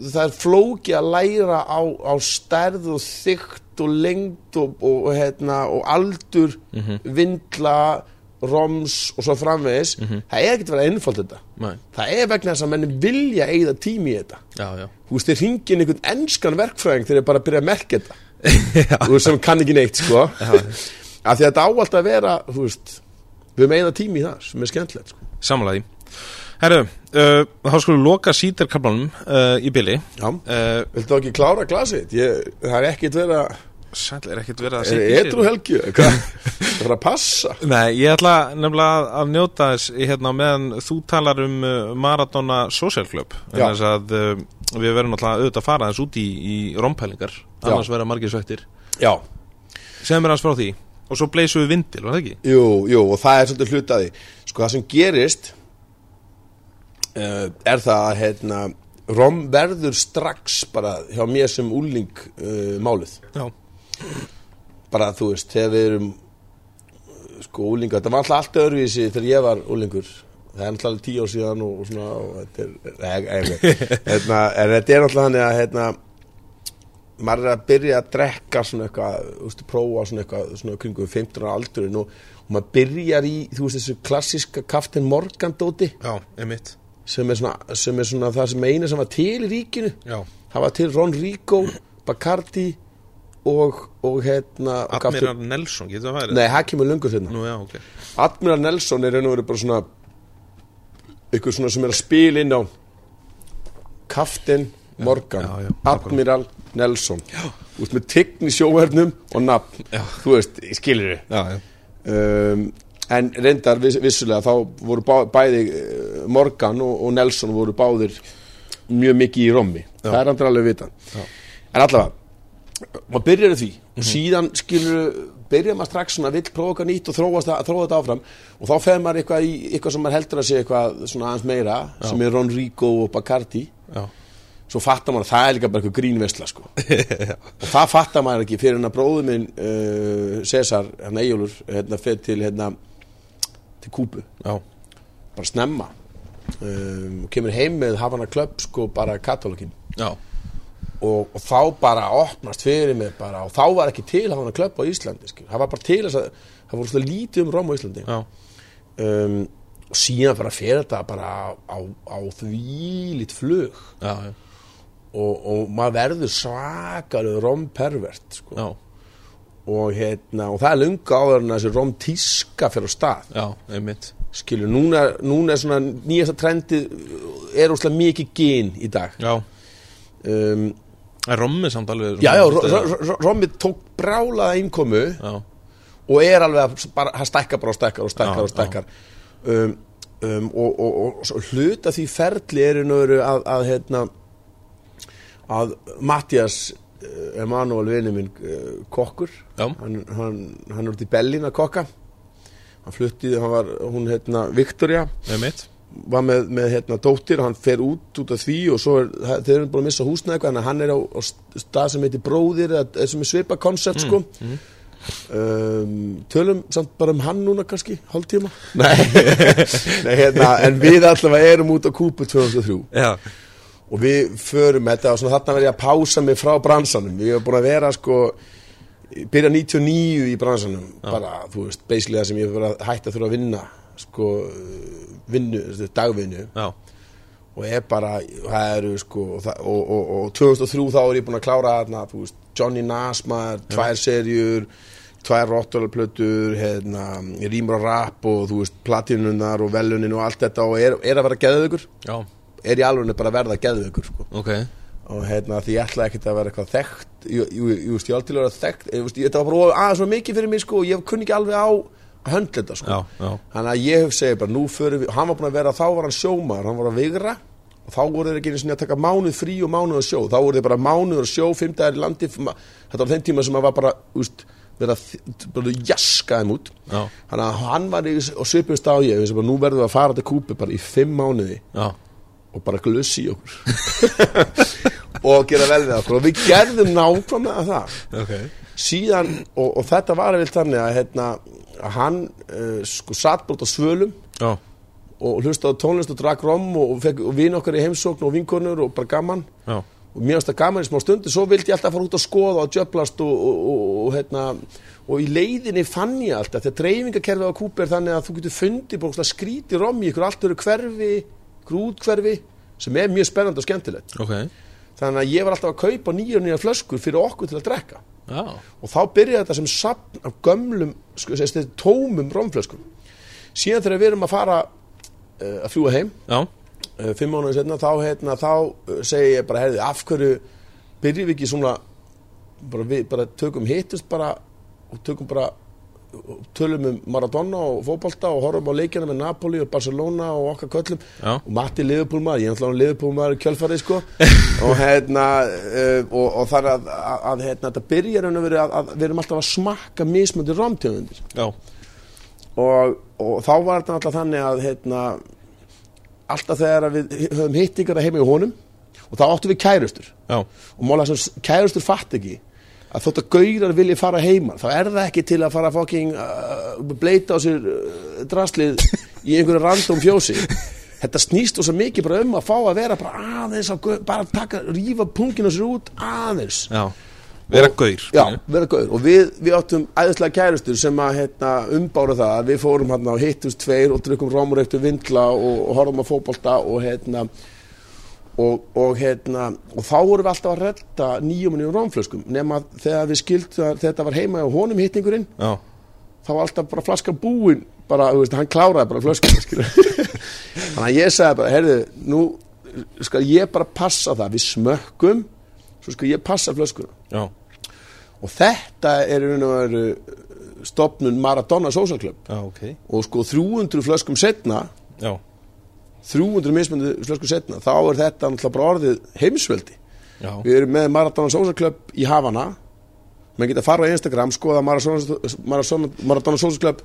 Speaker 2: það er flóki að læra á, á stærð og þygt og lengd og, og, og, hérna, og aldur
Speaker 1: Mhm.
Speaker 2: vindla, roms og svo framvegis
Speaker 1: Mhm.
Speaker 2: það er ekkert að vera einfalt þetta
Speaker 1: Nei.
Speaker 2: það er vegna þess að menn vilja eigða tími í þetta
Speaker 1: Já, já,
Speaker 2: þú veist, þeir ringin einhvern enskan verkfræðing þegar þeir bara byrja að merkja þetta þú veist, sem kann ekki neitt, sko af því að þetta á alltaf að vera, þú veist við höfum eina tími í það, sem er skemmtilegt sko.
Speaker 1: sammálaði Herru, uh, þá skulum loka sítarkablanum uh, í byli
Speaker 2: já,
Speaker 1: uh,
Speaker 2: viltu þá ekki klára glasið Ég, það er ekkit vera,
Speaker 1: Sæll er ekkert verið að
Speaker 2: er
Speaker 1: sýta í sér.
Speaker 2: etru helgju hvað, það er að passa
Speaker 1: Nei, ég ætla nefnilega að- að njóta þess í hérna, meðan þú talar um uh, Maradona Social Club en
Speaker 2: Já.
Speaker 1: þess að uh, við verðum alltaf auðvitað að fara þess út í, í rompælingar annars verða margir sveittir
Speaker 2: já,
Speaker 1: sem er hans frá því og svo bleysum við vindil, var það ekki?
Speaker 2: jú, jú, og það er svolítið hlutaði sko, það sem gerist uh, er það að hérna, rom verður strax bara hjá mér sem úling uh, málið
Speaker 1: Já,
Speaker 2: bara þú veist, þegar við erum sko úlingar, það var alltaf allt öðruvísi þegar ég var úlingur það er náttúrulega alveg tíu ár síðan og, og svona og þetta er, nei, ekki, hérna, en þetta er náttúrulega þannig að hérna, maður er að byrja að drekka svona eitthvað, þú veist, prófa svona eitthvað svona kringu 15 ára aldurinn og, og maður byrjar í, þú veist, þessu klassíska Kaftin Morgan dóti
Speaker 3: Já, einmitt
Speaker 2: sem er svona, sem er svona það sem eina sem var til í ríkinu
Speaker 3: Já,
Speaker 2: það var til Ron Rico, Bacardi og, og hérna og
Speaker 3: Admiral Nelson, getur það værið?
Speaker 2: nei, það kemur lungu þérna
Speaker 3: Nú, já, ok
Speaker 2: Admiral Nelson er einu verið bara svona ykkur svona sem er að spila inn á Kaftin Morgan
Speaker 3: já, já,
Speaker 2: Admiral Nelson út með tign í sjóhernum og nafn
Speaker 3: Já.
Speaker 2: þú veist, skilur þið
Speaker 3: Já, já
Speaker 2: um, en reyndar viss, vissulega þá voru bá, bæði eh, Morgan og, og Nelson voru báðir mjög mikið í rommi það er andra alveg vitan
Speaker 3: Já.
Speaker 2: en allavega, maður byrjar á því og síðan skilur byrjar maður strax svona vill prófa eitthvað nýtt og þróast að, þróa þetta áfram og þá fer maður eitthvað í eitthvað sem maður heldur að sé eitthvað svona aðeins meira sem er Ron Rico og Bacardi
Speaker 3: Já,
Speaker 2: svo fattar maður að það er líka bara eitthvað grínvesla sko. og það fattar maður ekki fyrir hennar bróðu minn uh, César, hann Eyjólfur hérna fyrir til hérna til Kúbu,
Speaker 3: já,
Speaker 2: bara snemma um, og kemur heim með Havana Club sko bara katalókin
Speaker 3: já.
Speaker 2: og, og þá bara opnast fyrir mig bara og þá var ekki til Havana Club á Íslandi sko. það var bara til þess að það voru svona lítið um Róm á Íslandi
Speaker 3: já.
Speaker 2: um, og síðan bara fyrir þetta bara á, á því lít flug
Speaker 3: já, já.
Speaker 2: og, og maður verður svakalegu rompervert sko.
Speaker 3: já.
Speaker 2: og, hérna, og það er lunga áður en að þessi romtíska fyrir á stað
Speaker 3: já. einmitt
Speaker 2: skilur, núna, núna er svona nýjasta trendið uh, er óslega mikið gin í dag
Speaker 3: Já,
Speaker 2: um,
Speaker 3: en rommi samt alveg
Speaker 2: já, já, ro- ro- ro- rommið tók brálaða innkomu
Speaker 3: Já,
Speaker 2: og er alveg að s- bara, það stækkar bara og stækkar og stækkar
Speaker 3: Já,
Speaker 2: og stækkar um, um, og, og, og, og svo hluta því ferli er einhverju að, að hérna að Mattias Emanuel vinur minn uh, kokkur
Speaker 3: Já.
Speaker 2: hann, hann, hann er út í Bellin að kokka hann fluttið, hann var hún hérna Viktoria
Speaker 3: einmitt
Speaker 2: var með, með hérna dóttir hann fer út út af því og svo er, það- þeir eru búin að missa húsna eitthvað en hann er á, á stað sem heitir bróðir eða eða sem er svipa koncept sko Um, tölum samt bara um hann núna kannski hálftíma Nei, Nei hérna, en við allavega erum út á kúpu 2003
Speaker 3: Já,
Speaker 2: og við förum þetta og svona þarna verð ég að pása mig frá bransanum ég hef búin að vera sko byrja 99 í bransanum bara, þú veist, basically það sem ég hef verið að hætta að þurfa að vinna sko, vinnu, þessi dagvinnu
Speaker 3: já,
Speaker 2: og er bara, það eru sko og, það- og, og, og 2003 þá er ég búin að klára þarna, þú veist, Johnny Nasmar tvær serjur, tvær rottalaplötur, hérna ég rýmur á rap og þú veist, platinunar og velunin og allt þetta og er, er að vera geðveikur,
Speaker 3: já,
Speaker 2: er í alveg bara að verða geðveikur sko
Speaker 3: ok
Speaker 2: og hérna því ég ætlaði ekkert að vera eitthvað þekkt jú, jú, jú veist, ég var til að vera þekkt ég, veist, ég, þetta var bara of- aðeins svo mikið fyrir mig sko og ég kunni ekki alveg á að höndla þetta sko
Speaker 3: Já, já.
Speaker 2: þannig að ég hef segið bara nú fyrir við hann var búin að vera, þá var hann sjómaður, hann var að vigra og þá voru þeir ekki einu sinni að taka mánuð frí og mánuð að sjó, þá voru þeir bara mánuður að sjó fimmtæðar í landi, fimm- þetta var þeim tíma sem hann var bara, úst, vera þ- bara jaskaðum út
Speaker 3: Já.
Speaker 2: þannig að hann var í svipust á ég, ég veist, bara, nú verðum við að fara til Kúpi bara í fimm mánuði
Speaker 3: Já,
Speaker 2: og bara glussi í okkur og gera vel við okkur og við gerðum nákvæmlega það
Speaker 3: ok
Speaker 2: síðan, og, og þetta var vel þannig að, hérna, að hann uh, sko satt bort á svölum
Speaker 3: Já,
Speaker 2: og hlustaði á tónlist og drakk rom og, og, fekk- og vin okkar í heimsókn og vinkonur og bara gaman
Speaker 3: já,
Speaker 2: og mér finnst það gaman í smá stundu svo vildi ég alltaf fara út að skoða og djöplast og, og, og, og, hérna, og í leiðinni fann ég alltaf þegar dreifingakerfið á Kúpa er þannig að þú getur fundið bara ógeðslega skrítið rom í ykkur allt eru hverfi, ykkur útkverfi sem er mjög spennandi og skemmtilegt
Speaker 3: ok
Speaker 2: þannig að ég var alltaf að kaupa nýja og nýja flöskur fyrir okkur til að drekka
Speaker 3: Já,
Speaker 2: og þá byrjaði þetta sem sapn af gömlum, sko, sem sagt, tómum romflöskum síðan þegar við erum að fara uh, að fljúa heim
Speaker 3: já,
Speaker 2: Eh, fimm mánuðin setna þá, hérna, þá eh, segi ég bara, herði, af hverju byrjum við ekki svona bara, við bara tökum hittust bara og tökum bara og tölum um Maradona og fótbolta og horfum á leikjana með Napoli og Barcelona og okkar köllum
Speaker 3: Já.
Speaker 2: og Matti Liverpool maður, ég er náttúrulega Liverpool maður í kjölfarið sko og hérna uh, og, og þar að, að, að hérna, þetta byrjar raun og verið að, að við erum alltaf að smakka mismöndir rámtjöfundir
Speaker 3: já,
Speaker 2: og, og þá var þetta alltaf þannig að heitna, alltaf þegar að við höfum hitt ykkur að heima í honum og þá áttum við kærustur
Speaker 3: já
Speaker 2: og mála sem s- kærustur fatt ekki að þótt að gaurar vilji fara heima þá er það ekki til að fara að fucking uh, bleita á sér uh, draslið í einhverju random fjósi þetta snýst þess að mikið bara um að fá að vera bara aðeins að bara taka, rífa punginu sér út aðeins
Speaker 3: Já, vera gaur
Speaker 2: Já,
Speaker 3: skilju.
Speaker 2: vera góður og við, við áttum æðislega kærustur sem að hérna, umbára það að við fórum hérna og hittust tveir og drukkum rámureyktu vindla og, og horfum að fótbolta og hérna og, og hérna og þá vorum við alltaf að redda nýjum og nýjum rámflöskum nema að þegar við skildum að þetta var heima og honum hittingurinn
Speaker 3: Já,
Speaker 2: þá var alltaf bara flaska búin bara, þú veist, hann kláraði bara flöskuna skilur. þannig að ég sagði bara, heyrðu nú skal ég bara passa það við smökkum, svo skal ég passa flöskuna
Speaker 3: já,
Speaker 2: og þetta er í raun og veru uh, stofnun Maradona Social Club
Speaker 3: já, ok
Speaker 2: og sko 300 flöskum setna
Speaker 3: Já,
Speaker 2: 300 mismundu flöskum setna þá er þetta náttúrulega bara orðið heimsveldi
Speaker 3: já,
Speaker 2: við erum með Maradona Social Club í Havana menn geta að fara á Instagram skoða Maradona, Maradona, Maradona Social Club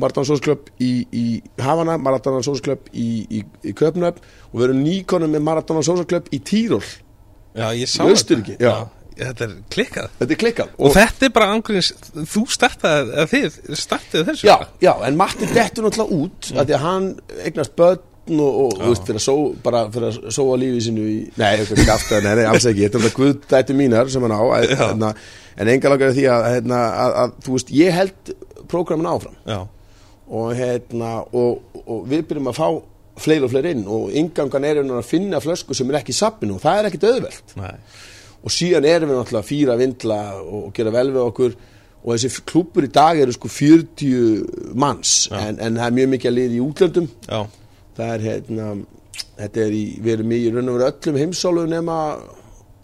Speaker 2: Maradona Social Club í, í Havana Maradona Social Club í, í, í Köpnöf og við erum nýkonum með Maradona Social Club í Týról
Speaker 3: já, ég sá
Speaker 2: Í Austurríki, já.
Speaker 3: Þetta er klikkað
Speaker 2: þetta er klikkað
Speaker 3: Og, þetta er bara angriðins, þú startaði, eða þið startaði þessu
Speaker 2: já, já, en Matti dettur náttúrulega út af því að hann eignast börn og, og þú veist, fyrir að sóa bara fyrir að sóa lífið sínu í nei, eitthvað kafta, nei, nei, alls ekki, þetta er náttúrulega guðdættu mínar sem hann á, að, hérna, en enga langar því að, hérna, að, að, þú veist, ég held prógramin áfram
Speaker 3: já,
Speaker 2: og, hérna, og, og við byrjum að fá fleiri og fleiri inn og ingangan er að finna flösku sem er ekki í sappinu og það er ekkit auðvelt
Speaker 3: nei,
Speaker 2: og síðan erum við náttúrulega að fýra vindla og gera vel við okkur og þessi klúpur í dag eru sko 40 manns en, en það er mjög mikið að liða í útlöndum
Speaker 3: já,
Speaker 2: það er hérna þetta er í, við erum í raun og veru öllum heimsálu nema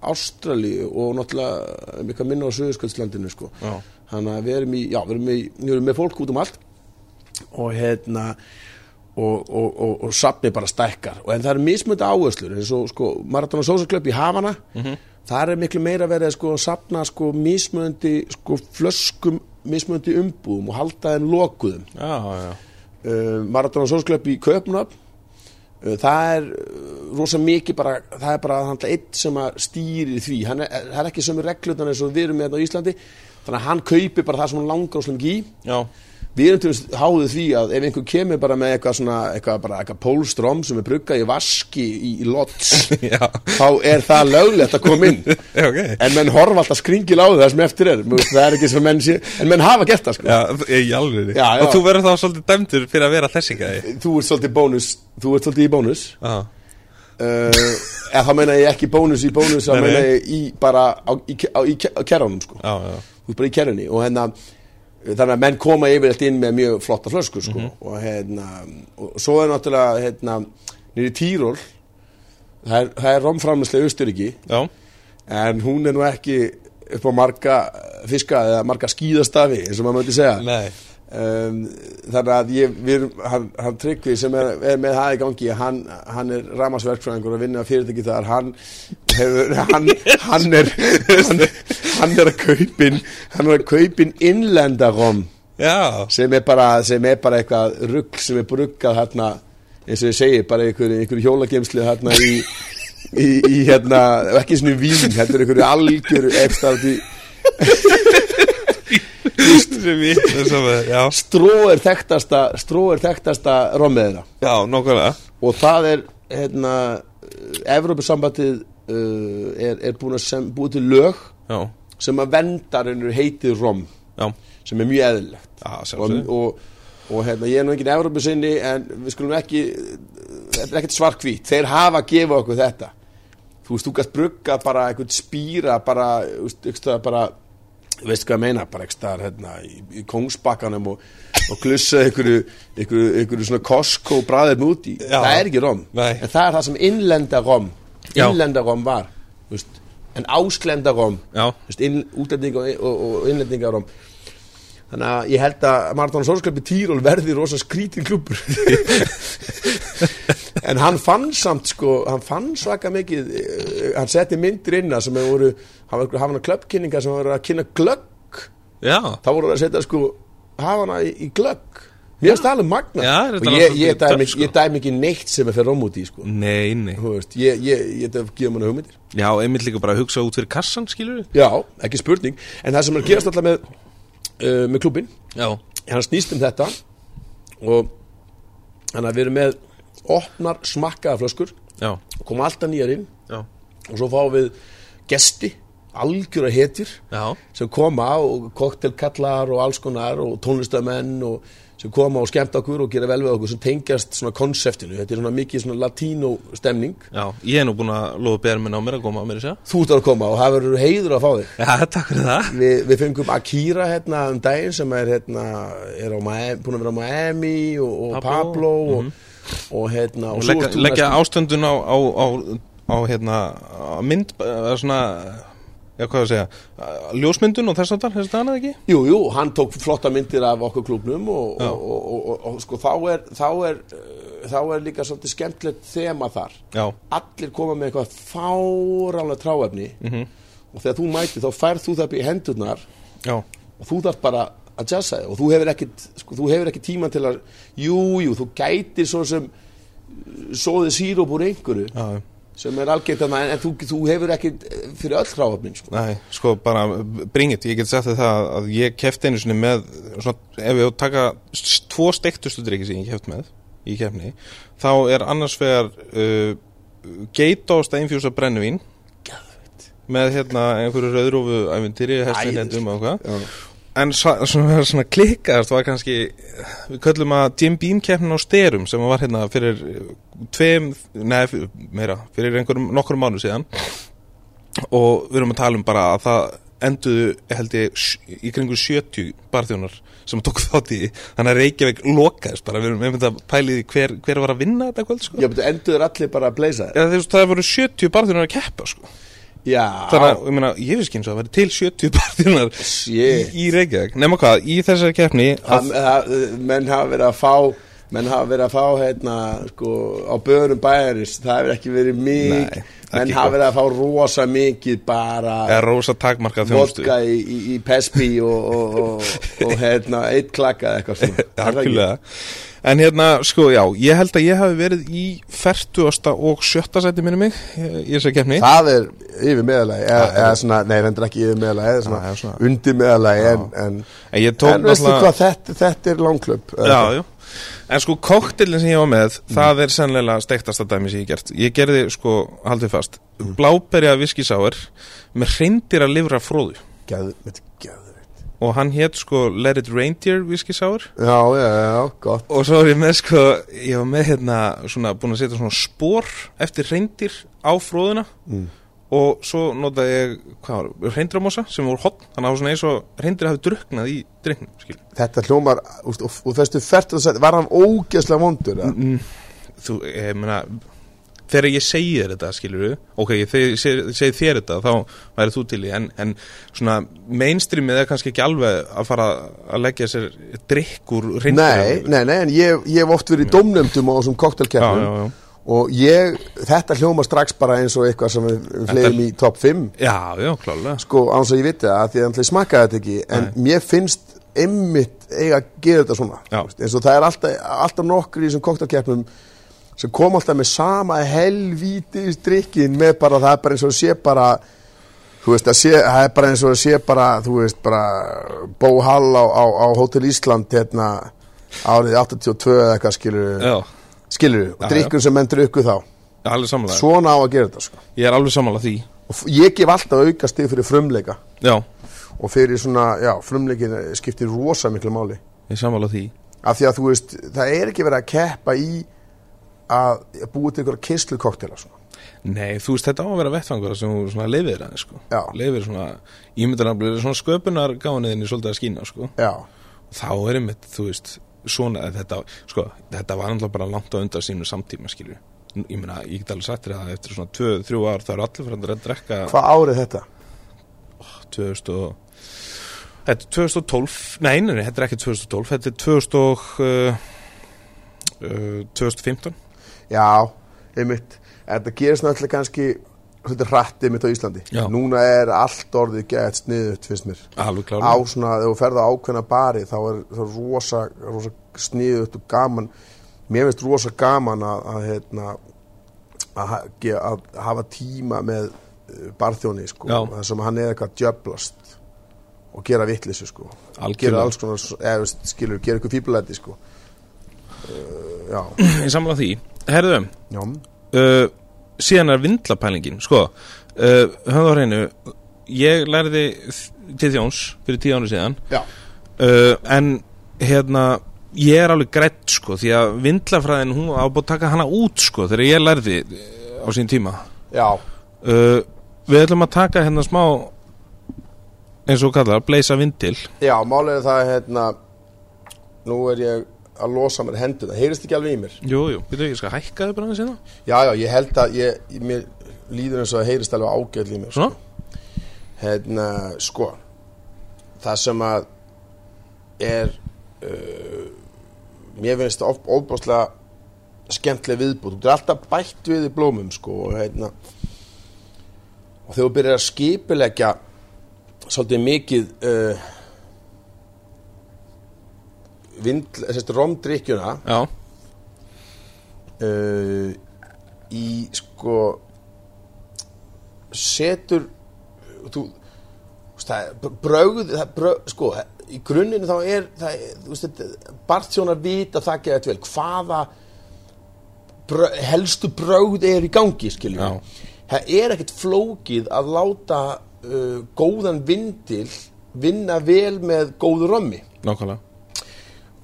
Speaker 2: Ástrali og náttúrulega mikið minna á Suðurskjöldslandinu sko
Speaker 3: já,
Speaker 2: þannig að við erum í, já við erum í við erum með fólk út um allt og hérna og, og, og, og safni bara stækkar og en það er mismöndi áherslur eins og sko Maratona Sósaklöp í Havana þar er miklu meira verið sko, að safna sko mismöndi sko flöskum mismöndi umbúðum og halda þeim lokuðum
Speaker 3: já, já,
Speaker 2: uh, Maratona Sósaklöp í Köpnöp uh, það er uh, rosa mikið bara, það er bara hann eitt sem að stýri því, hann er, það er ekki sömu reglutan eins og við erum með þetta á Íslandi þannig að hann kaupi bara það sem hann langar og slum ekki í
Speaker 3: já,
Speaker 2: Við erum til dæmis háðið því að ef einhver kemur bara með eitthvað svona, eitthvað bara eitthvað pólstróm sem er bruggað í vaski í, í lots,
Speaker 3: já,
Speaker 2: þá er það löglegt að koma inn.
Speaker 3: já, ok
Speaker 2: En menn horfa alltaf skringil á það sem eftir er, Mú veist, það er ekki sem menn sé, en menn hafa gert það sko.
Speaker 3: Já, í alveg
Speaker 2: Já, já.
Speaker 3: Og þú verður þá svolítið dæmdur fyrir að vera þessi gæði
Speaker 2: Þú ert svolítið bónus, þú ert svolítið í bónus,
Speaker 3: Já,
Speaker 2: uh, eða þá meina ég ekki bónus í bónus, þá
Speaker 3: Nei, nei.
Speaker 2: meina ég í bara á, í, ke- á, í, ke- á kerranum sko.
Speaker 3: já, já,
Speaker 2: þú ert bara í kerrunni og hérna þannig að menn koma yfirleitt inn með mjög flotta flöskur sko
Speaker 3: Mhm.
Speaker 2: og hérna og svo er náttúrulega hérna nýri Týról það er, það er romframlæslega austuriki
Speaker 3: já,
Speaker 2: en hún er nú ekki upp á marga eh, fiska eða marga skíðastafi eins og maður mötti segja
Speaker 3: nei
Speaker 2: um, þannig að ég, við, erum- hann, hann Tryggvi sem er, er með það í gangi hann, hann er ramasverkfræðingur að vinna að fyrirtæki þar hann, hefur, hann, hann er hann, hann er að kaupin hann er að kaupin innlendarom
Speaker 3: Já,
Speaker 2: sem er bara, sem er bara eitthvað rugg sem er bruggað hérna eins og ég segi, bara einhverju einhver hjólagemslu hérna í, í, í hérna, ekki svona vín, heldur einhverju algjöru eftir
Speaker 3: sem ég sem, Já,
Speaker 2: stró er þekktasta stró er þekktasta rommeðina
Speaker 3: já, nokkulega
Speaker 2: og það er hérna, Evrópusambandið uh, er, er búin að sem, búið til lög
Speaker 3: Já,
Speaker 2: sem að vendar heitið rom
Speaker 3: já,
Speaker 2: sem er mjög eðlilegt
Speaker 3: já,
Speaker 2: og,
Speaker 3: sjálfsögðu
Speaker 2: og, og hérna, ég er nú engin Evrópusinni en við skulum ekki þetta er ekkert svarkvít, þeir hafa að gefa okkur þetta þú veist, þú gæst brugga bara einhvern spýra bara, þú veist, einhvers staðar bara þú veist hvað ég meina, bara ekki staðar hérna, í, í kongsbakkanum og, og glussa einhverju, einhverju, einhverju svona Costco bræðir múti,
Speaker 3: Já.
Speaker 2: það er ekki rom
Speaker 3: Nei.
Speaker 2: en það er það sem innlenda rom
Speaker 3: Já.
Speaker 2: innlenda rom var þú veist, en ásklenda rom
Speaker 3: Já,
Speaker 2: Þú veist, inn, útlendinga og, og, og innlendingarum þannig að ég held að Marathon Sólsklöpi Týról verði rosa skrítin klubur en hann fann samt sko, hann fann svaka mikið eh, hann setti myndir inna sem hefur voru hann var hafana klöppkynningar sem voru að kynna glögg
Speaker 3: já,
Speaker 2: þá voru það að setja sko hafana í, í glögg Mér finnst það alveg magna
Speaker 3: Já, þetta er
Speaker 2: Og
Speaker 3: alveg
Speaker 2: ég, ég,
Speaker 3: svolítið
Speaker 2: dæmi,
Speaker 3: töff, sko.
Speaker 2: ég dæmi ekki neitt sem er fyrir rómúti sko.
Speaker 1: Nei, nei
Speaker 2: Þú veist, Ég, ég, ég dæmi gefa manna hugmyndir
Speaker 3: Já, einmitt líka bara að hugsa út fyrir kassan, skilur við?
Speaker 2: Já, ekki spurning En það sem er að gerast alltaf með, uh, með klubin
Speaker 3: Já.
Speaker 2: Hann snýst um þetta Og Þannig að við erum með Opnar smakkaða flöskur
Speaker 3: Já.
Speaker 2: og Koma alltaf nýjar inn
Speaker 3: Já.
Speaker 2: Og svo fáum við gesti Algjöra hetjur
Speaker 3: Já.
Speaker 2: sem koma og koktelkallar og alls konar og tónlistamenn og sem koma og skemmta okkur og gera vel við okkur sem tengjast svona konseptinu, þetta er svona mikið svona latínó stemning,
Speaker 3: Já. Ég er nú búin að lofa bera minn á mér að koma að mér þess að.
Speaker 2: þú ert að koma og það verður heiður að fá þig.
Speaker 3: Já, takk fyrir það.
Speaker 2: Vi, við fengum Akira hérna um daginn sem er hérna, er á Miami, búin að vera á Miami og, og
Speaker 3: Pablo.
Speaker 2: Pablo og, og hérna og
Speaker 1: Og
Speaker 2: svo
Speaker 1: leggja,
Speaker 2: ert þú
Speaker 1: leggja
Speaker 2: næst-
Speaker 1: ástöndun á, á, á, á hérna, á mynd, eða svona, já hvað að segja, eh, ljósmyndun og þess að það, þess að það ekki?
Speaker 2: Jú, jú, hann tók flotta myndir af okkur klubnum og, og, og, og, og, og sko þá er, þá er, uh, þá er líka svolítið skemmtilegt þema þar.
Speaker 1: Já,
Speaker 2: allir koma með eitthvað fáránlega tráefni
Speaker 1: Mhm.
Speaker 2: og þegar þú mætir þá færð þú það upp í hendurnar
Speaker 1: já,
Speaker 2: og þú þarf bara að jazza þig og þú hefur ekkit, sko, þú hefur ekkit tíman til að jú, jú, þú gætir svo sem uh, sóðið síróp úr einhverju
Speaker 1: já, já.
Speaker 2: sem er algjönd að maður en þú, þú hefur ekkit eh, fyrir öll tráefnin sko.
Speaker 1: Nei, sko bara bringið, ég get sagt þér það að ég kefti einu sinni með, svona, ef ég á að taka s- tvo steiktustu drikki sem ég keft með í kefni, þá er annars vegar uh, geitást að infjúsa brennivín með hérna einhverju rauðrófu ævintýri,
Speaker 2: Æ,
Speaker 1: hestinendum og hvað.
Speaker 2: Já.
Speaker 1: En sa- svona, svona klikkaðast var kannski, við köllum að Jim Beam keppnin á styrum sem var hérna fyrir tveim, neða meira, fyrir einhverjum nokkur mánu síðan og við erum að tala um bara að það enduðu held ég sj- í kringu 70 barþjónar sem tók þátt í því. þannig að Reykjavík lokaðist bara við erum einmitt að pæli því hver, hver var að vinna þetta kvöld sko
Speaker 2: Já, betur endur allir bara að bleysa þér
Speaker 1: Eða, þú veist, það voru 70 barþjónar að keppa sko.
Speaker 2: Já,
Speaker 1: þannig að ég, meina, ég veist ekki eins og það væri til 70 barþjónar
Speaker 2: Shit.
Speaker 1: í Reykjavík nema hvað, í þessari keppni
Speaker 2: að, að, menn hafa verið að fá menn hafa verið að fá hérna sko, á börum bæjarins, það hefur ekki verið
Speaker 1: Nei,
Speaker 2: mikið,
Speaker 1: ekki
Speaker 2: menn hafa
Speaker 1: gott.
Speaker 2: verið að fá rosa mikið bara
Speaker 1: er rosa takmarka þjónustu
Speaker 2: vodka í, í, í pespi og, og, og, og hérna eitt klakka eða eitthvað svona Er það ekki?
Speaker 1: Algjörlega En hérna, sko, já, ég held að ég hafi verið í 40. og 70. sæti minni mig eh, í þessari keppni
Speaker 2: það er yfir meðalagi eða, eða svona, nei, vendur ekki yfir meðalagi
Speaker 1: Ah, Já,
Speaker 2: eða
Speaker 1: já,
Speaker 2: svona,
Speaker 1: svona.
Speaker 2: undir meðalagi en, en,
Speaker 1: En ég tók
Speaker 2: en veistu
Speaker 1: náttúrulega-
Speaker 2: hvað, þetta, þetta er Mm. langklöp
Speaker 1: Já, já En sko koktelin sem ég var með Það er sennilega steiktasta dæmi sem ég hef gert Ég gerði sko, haldið fast mm. Bláberja viskisáir Með reyndir að lifra fróðu
Speaker 2: Geð, þetta er geðveikt.
Speaker 1: Og hann hétt sko Let it reindeer viskisáir
Speaker 2: já, já, já, gott
Speaker 1: Og svo er ég með sko Ég var með hérna svona Búin að setja svona spór Eftir reyndir á fróðuna Og svo notaði ég hvað var, reyndramósa sem voru hotn Þannig að það var svona eins og reyndir hafi druknað í drikknum skil.
Speaker 2: þetta hljómar, úst, og, og þessu fært var hann ógeðslega vondur eða?
Speaker 1: þú, ég meina þegar ég segi þér þetta, skilur við ok, ég segi, segi, segi þér þetta, þá væri þú til í, en, en svona mainstreamið er kannski ekki alveg að fara að leggja sér drikk úr
Speaker 2: Nei, nei, nei, en ég, ég hef oft verið í dómnefndum á þessum
Speaker 1: Já, já, já.
Speaker 2: koktelkeppnum og ég, þetta hljóma strax bara eins og eitthvað sem við við fleygum í topp 5
Speaker 1: Já, já, klálega
Speaker 2: sko án svo ég viti það að því að ég smakkaði þetta ekki en mér finnst einmitt eiga að gera þetta svona
Speaker 1: Já.
Speaker 2: Þú veist, eins og það er alltaf, alltaf nokkur í þessum koktelkeppnum sem kom alltaf með sama helvíti drikkin með bara það er bara eins og sé bara þú veist, það sé, það er bara eins og það sé bara, þú veist, bara bóhall á, á, á Hotel Ísland hérna árið 82 eða eitthvað skilur
Speaker 1: Já,
Speaker 2: skilur, og
Speaker 1: Já,
Speaker 2: drikkur sem menn drukku þá
Speaker 1: alveg samlega
Speaker 2: svona á að gera þetta sko.
Speaker 1: Ég er alveg samlega því
Speaker 2: og f- ég gef alltaf auka stig fyrir frumleika
Speaker 1: Já,
Speaker 2: og fyrir svona, já, frumleikin skiptir rosa miklu máli
Speaker 1: ég er samlega því
Speaker 2: af því að þú veist, það er ekki verið að keppa í að búið til ykkur kistlu koktela svona
Speaker 1: Nei, þú veist, þetta á að vera vettfangur sem þú svona lifir aðeins, sko
Speaker 2: Já.
Speaker 1: Lifir svona, ég myndi að bli svona sköpunar gániðinni svolítið að skína, sko
Speaker 2: já,
Speaker 1: þá er einmitt, þú veist, svona en þetta, sko, þetta var annað bara langt á undan sínu samtíma, skilju ég meina, ég get alveg sagt þér að eftir svona 2-3 ár þá eru allir fyrir að drekka
Speaker 2: hvað árið þetta?
Speaker 1: 2000 og þetta er 2012, nei, nei, nei, þetta er ekki 2012 þetta er 2000 og uh, uh, 2015
Speaker 2: Já, einmitt En Þetta gerist náttúrulega kannski svolítið hrattið mitt á Íslandi
Speaker 3: Já.
Speaker 2: núna er allt orðið gett sniðut finnst mér
Speaker 3: Alveg
Speaker 2: á
Speaker 3: klálega.
Speaker 2: svona, þegar þú ferð á ákveðna bari þá er það rosa, rosa sniðut og gaman mér finnst rosa gaman að, að, hérna, að, ha- ge- að hafa tíma með eh, barþjóni sko,
Speaker 3: Já.
Speaker 2: þar sem hann er eitthvað djöblast og gera vitleysu sko
Speaker 3: Algjörlega.
Speaker 2: gera alls konar, s- eða veist, skilur, gera ykkur fíblæti sko uh, já,
Speaker 1: Ég samla því Herðu,
Speaker 2: já
Speaker 1: uh, síðan er vindlapælingin Sko, uh, höfðu á hreinu Ég lærði þ- til þjóns fyrir tíu ára síðan
Speaker 2: já,
Speaker 1: uh, En hérna Ég er alveg grætt sko Því að vindlafræðin, hún á búið að taka hana út sko Þegar ég lærði eh, á sín tíma
Speaker 2: já,
Speaker 1: uh, Við ætlum að taka hérna smá eins og kallar, bleisa vindil
Speaker 2: já málið er það hérna, nú er ég að losa mér hendur, það heyrist ekki alveg í mér
Speaker 1: Jú, jú, byrju, ég skal hækka þau bara aðeins hérna
Speaker 2: Já, já, ég held að ég, ég- mér líður eins og það heyrist alveg ágæll í mér
Speaker 1: Svona?
Speaker 2: Hérna, sko Það sem að er uh, mér finnst of, ofbáslega skemmtileg viðbúð Þú er alltaf bætt við í blómum, sko og, hérna, og þegar þú byrjar að skipilegja svolítið mikið uh, vind, sérst, romdrykkjuna
Speaker 1: Já,
Speaker 2: uh, í sko setur þú, þú veist, það er brögð, það er brögð sko, í grunninu þá er það, er- þú veist, þetta- barþjónar vita það ekki þetta vel, hvaða brögð, helstu brögð er í gangi, skiljum
Speaker 1: Já.
Speaker 2: það er ekkert flókið að láta uh, góðan vindil vinna vel með góðu rommi
Speaker 1: nákvæmlega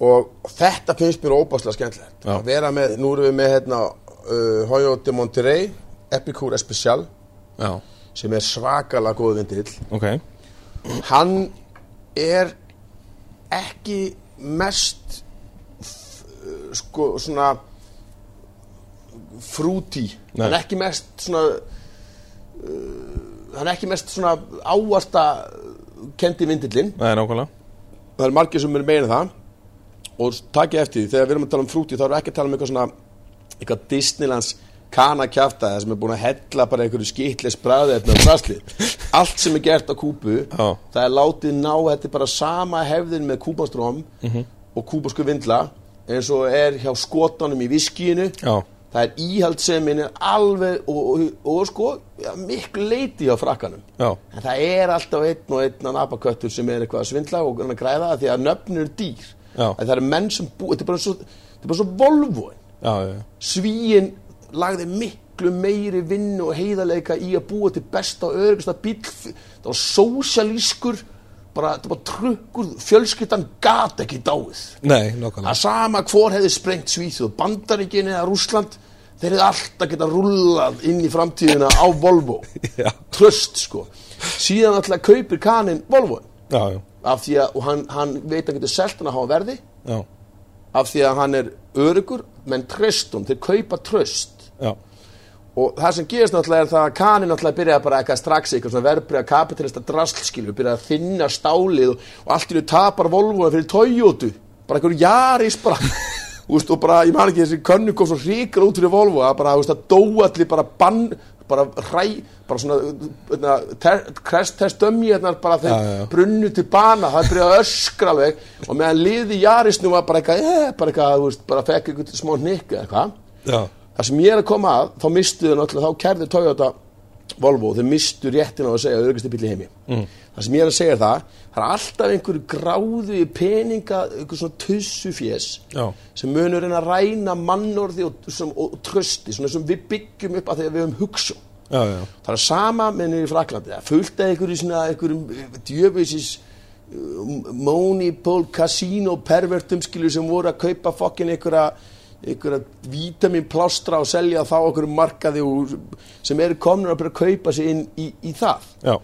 Speaker 2: og þetta finnst mér óbáslega skemmtilegt
Speaker 1: Já.
Speaker 2: að vera með, nú erum við með hérna, uh, Hoyo de Monterrey Epicure Especial
Speaker 1: Já,
Speaker 2: sem er svakalega góð vindill
Speaker 1: ok
Speaker 2: hann er ekki mest uh, sko svona frúti
Speaker 1: Nei.
Speaker 2: hann er ekki mest svona uh, hann er ekki mest svona áasta kendi vindillin
Speaker 1: Það er nákvæmlega
Speaker 2: það er margir sem eru meina það og takk ég eftir því, þegar við erum að tala um frúti þá erum við ekki að tala um eitthvað svona eitthvað Disneylands kanakjafta sem er búin að hella bara einhverju skitlis bræði eftir bræðsli allt sem er gert á kúpu
Speaker 1: Já.
Speaker 2: það er látið ná, þetta er bara sama hefðin með kúpastróm
Speaker 1: Mhm.
Speaker 2: og kúpasku vindla eins og er hjá skotanum í viskíinu
Speaker 1: Já,
Speaker 2: það er íhaldsemin er alveg og, og, og, sko, ja, miklu leiti á frakkanum
Speaker 1: já,
Speaker 2: En það er alltaf einn og einn að napaköttur sem er eitthvað að svindla og að græða af því að nöfnir eru dýr.
Speaker 1: Já.
Speaker 2: Að Það eru menn sem bú, þetta er bara svo, þetta er bara svo volvoin.
Speaker 1: já, já, já.
Speaker 2: Svíin lagði miklu meiri vinnu og heiðarleika í að búa til besta og öryggsta bíl. Það var sósialískur, bara, þetta var bara trukkur, fjölskyldan gat ekki dáið.
Speaker 3: Nei, nákvæmlega.
Speaker 2: Að sama hvor hefði sprengt Svíþjóð, Bandaríkin eða Rússland, þeir hefði alltaf geta rullað inn í framtíðina á Volvo.
Speaker 3: Já.
Speaker 2: Tröst, sko. Síðan alltaf kaupir kaninn Volvo
Speaker 1: Já, já,
Speaker 2: af því að og hann, hann veit að getur selt hann að hafa verði,
Speaker 1: já,
Speaker 2: af því að hann er örugur, menn tröstum, þeir kaupa tröst.
Speaker 1: já,
Speaker 2: Og það sem gerist náttúrulega er það að kaninn náttúrulega byrjaði bara eitthvað strax eitthvað svona verbreyða kapitalista drastlskilu, byrjaði að þinna stálið og, og allt í nú tapar Volvo fyrir Toyota, bara einhverju jaris bara, úst, og bara, ég man ekki þessi könnu kom svo hríkar út fyrir Volvo að bara, úst, að dó allir bara bann, bara hræ, bara svona, svona ter, krest test dömjarnar bara þeir
Speaker 3: já, já.
Speaker 2: brunnu til bana, það byrjaði að öskra alveg og meðan liði jarisnum var bara eitthvað, eh, bara eitthvað, þú veist, bara fekk eitthvað smá hnikka eitthvað
Speaker 3: Já.
Speaker 2: það sem ég er að koma að, þá mistu þau náttúrulega, þá kærðu Toyota Volvo, þau mistu réttin á að segja örgasti bíl í heimi. Það sem ég er að segja er það, það er alltaf einhverju gráðu í peninga, einhver svona tussu fjés,
Speaker 1: Já.
Speaker 2: sem munur reyna að ræna mannorði og, og, og, og trösti, svona sem við byggjum upp að því að við höfum hugsun.
Speaker 1: já, já.
Speaker 2: Það er sama með niður í Fraklandi. Það fullt af einhverju svona, einhverjum eh, djöfisins monipól casino pervertum skilur sem voru að kaupa fokkin einhverja einhverja vítamin plástra og selja þá okkur markaði og, sem eru komnir að byrja að kaupa sig inn í, í það
Speaker 1: já.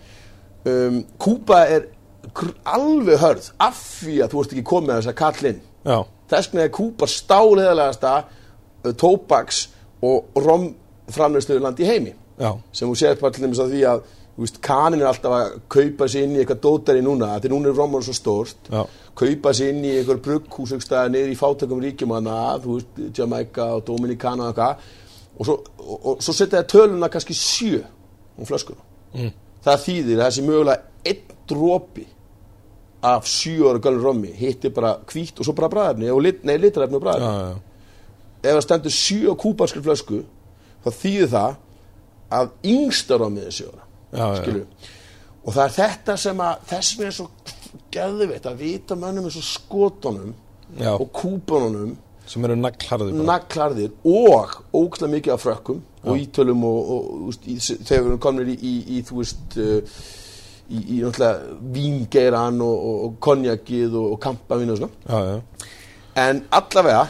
Speaker 2: um, Kúpa er gr- alveg hörð af því að þú ert ekki komið að þessa kallinn
Speaker 1: Já,
Speaker 2: þess vegna er Kúpa stáleðalegasta uh, tóbaks og romframleyslu land í heimi
Speaker 1: já,
Speaker 2: sem þú sér bara til dæmis að því að þú veist, kanin er alltaf að kaupa sér inn í eitthvað dótari núna, því núna er Róman svo stórt
Speaker 1: Já.
Speaker 2: kaupa sér inn í einhver brugghús einhverstaðar niður í fátökum ríkjum hana, þú veist, Jamaica og Dominicana og eitthvað og svo, og, og, svo setja það töluna kannski sjö og um flöskuna það þýðir að þessi mögulega einn dropi af sjö ára gölur rommi hittir bara hvítt og svo bara bræðefni og lit, nei, litrefni og bræðefni
Speaker 1: já,
Speaker 2: ef það stendur sjö kúbanskri flösku þá þýðir það að yngsta rommið er sjö
Speaker 1: Já, já,
Speaker 2: ára skilur og það er þetta sem að þess vegna er svo geðvitt að vita mönnum eins og skotunum
Speaker 1: já,
Speaker 2: og kúbanunum
Speaker 1: sem eru naglarði bara.
Speaker 2: naglarðir og ókslega mikið af frökkum og ítölum og, og, og úst, í, þegar við erum komnir í, í, í þú veist uh, í, í náttúrulega vingeiran og, og, og konjakið og, og kampavín og svona
Speaker 1: Já, já.
Speaker 2: en allavega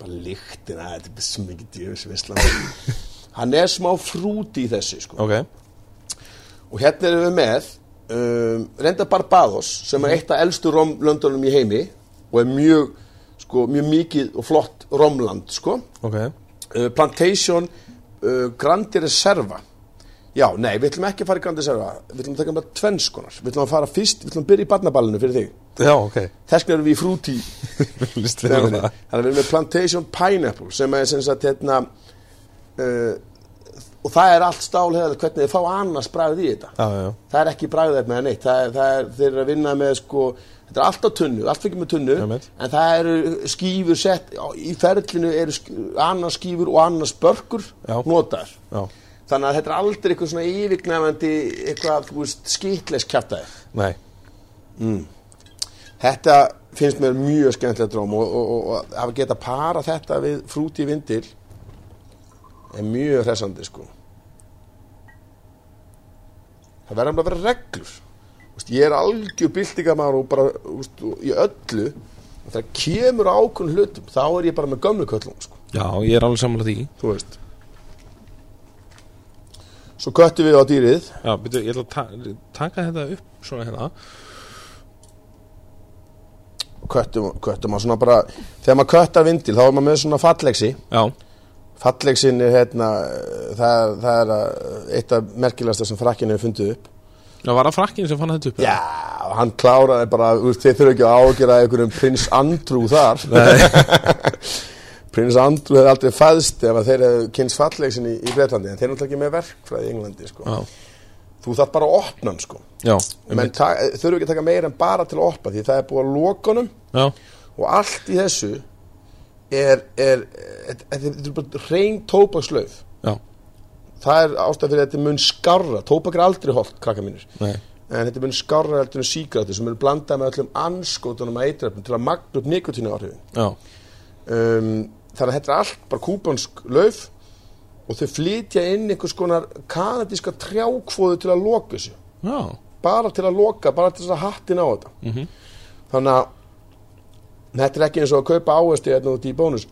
Speaker 2: bara lyktina þetta er bara svo mikið djöfisvisla hann er smá frúti í þessu sko.
Speaker 1: Ok,
Speaker 2: og hérna erum við með um, reynda Barbados sem er eitt af elstu romlöndunum í heimi og er mjög, sko, mjög mikið og flott romland sko.
Speaker 1: ok.
Speaker 2: uh, Plantation uh, Grandi Reserva já, nei, við ætlum ekki að fara í Grandi Reserva við ætlum að taka með tvennskonar við ætlum að fara fyrst, við ætlum að byrja í barnaballinu fyrir þig
Speaker 1: Já, ok.
Speaker 2: þess vegna erum við í frúti
Speaker 1: List við
Speaker 2: þannig
Speaker 1: það.
Speaker 2: að við erum með Plantation Pineapple sem er sem sagt hérna uh, og það er allt stálheðal hvernig þið fá annars bræðið í þetta
Speaker 1: Já, já.
Speaker 2: það er ekki bragðefni eða neitt það er, það er, þeir eru að vinna með sko þetta er allt á tunnu, allt fyrir með tunnu
Speaker 1: Einmitt.
Speaker 2: en það eru skýfur sett á- í ferlinu eru sk- annars skýfur og annars börkur
Speaker 1: Já.
Speaker 2: notar
Speaker 1: Já.
Speaker 2: þannig að þetta er aldrei eitthvað svona yfirgnæfandi eitthvað þú veist, skýtleis kjartaði
Speaker 1: Nei.
Speaker 2: Þetta finnst mér mjög skemmtilegt dróm og, og, og, og að geta para þetta við frúti vindil er mjög hressandi sko. Það verður nefnilega að vera reglur. Úst, ég er algjör byltingamar og bara úst, og í öllu og það kemur ákun hlutum þá er ég bara með gömlu köllum sko,
Speaker 1: Já, ég er alveg sammála því.
Speaker 2: þú veist. Svo köttum við á dýrið.
Speaker 1: Já, byrju, ég ætla að ta taka þetta upp svona hérna.
Speaker 2: Köttum, köttum að svona bara, þegar maður köttar vindil þá er maður með svona fallegsi.
Speaker 1: Já.
Speaker 2: Fallegsin er hérna, uh, það, það er uh, eitt af merkilegasta sem frakkin hefur fundið upp.
Speaker 1: Já, var það frakkin sem fann þetta upp?
Speaker 2: Já, og hann kláraði bara, úr, þeir þurfa ekki að ágjöra einhverjum prins Andrew þar. prins Andrew hefði aldrei fæðst ef að þeir hefðu kynst fallegsin í, í Breitlandi, en þeir eru náttúrulega ekki með verkfræði í Englandi, sko.
Speaker 1: Já.
Speaker 2: Þú þarf bara að opna hann, sko.
Speaker 1: Já.
Speaker 2: Menn ta- þurfa ekki að taka meira en bara til að opna, því það er búið að loka honum
Speaker 1: Já.
Speaker 2: og allt í þessu er, er, er, er, er, er bara reyn tópakslauf.
Speaker 1: Já.
Speaker 2: það er ástæð fyrir að þetta mun skarra tóbak er aldrei holt, krakka mínir
Speaker 1: Nei.
Speaker 2: en þetta mun skarra heldur en sígrættu sem mun blanda með öllum anskotunum að eitrefnum til að magna upp nikotínu áhrifin
Speaker 1: Já.
Speaker 2: um, þannig að þetta er allt bara kúbansk lauf og þau flytja inn einhvers konar kanadíska trjákvóðu til að loka þessu
Speaker 1: Já.
Speaker 2: bara til að loka, bara til þess að hattin á þetta
Speaker 1: Mhm.
Speaker 2: þannig að þetta er ekki eins og að kaupa ávesti eða hérna út í bónus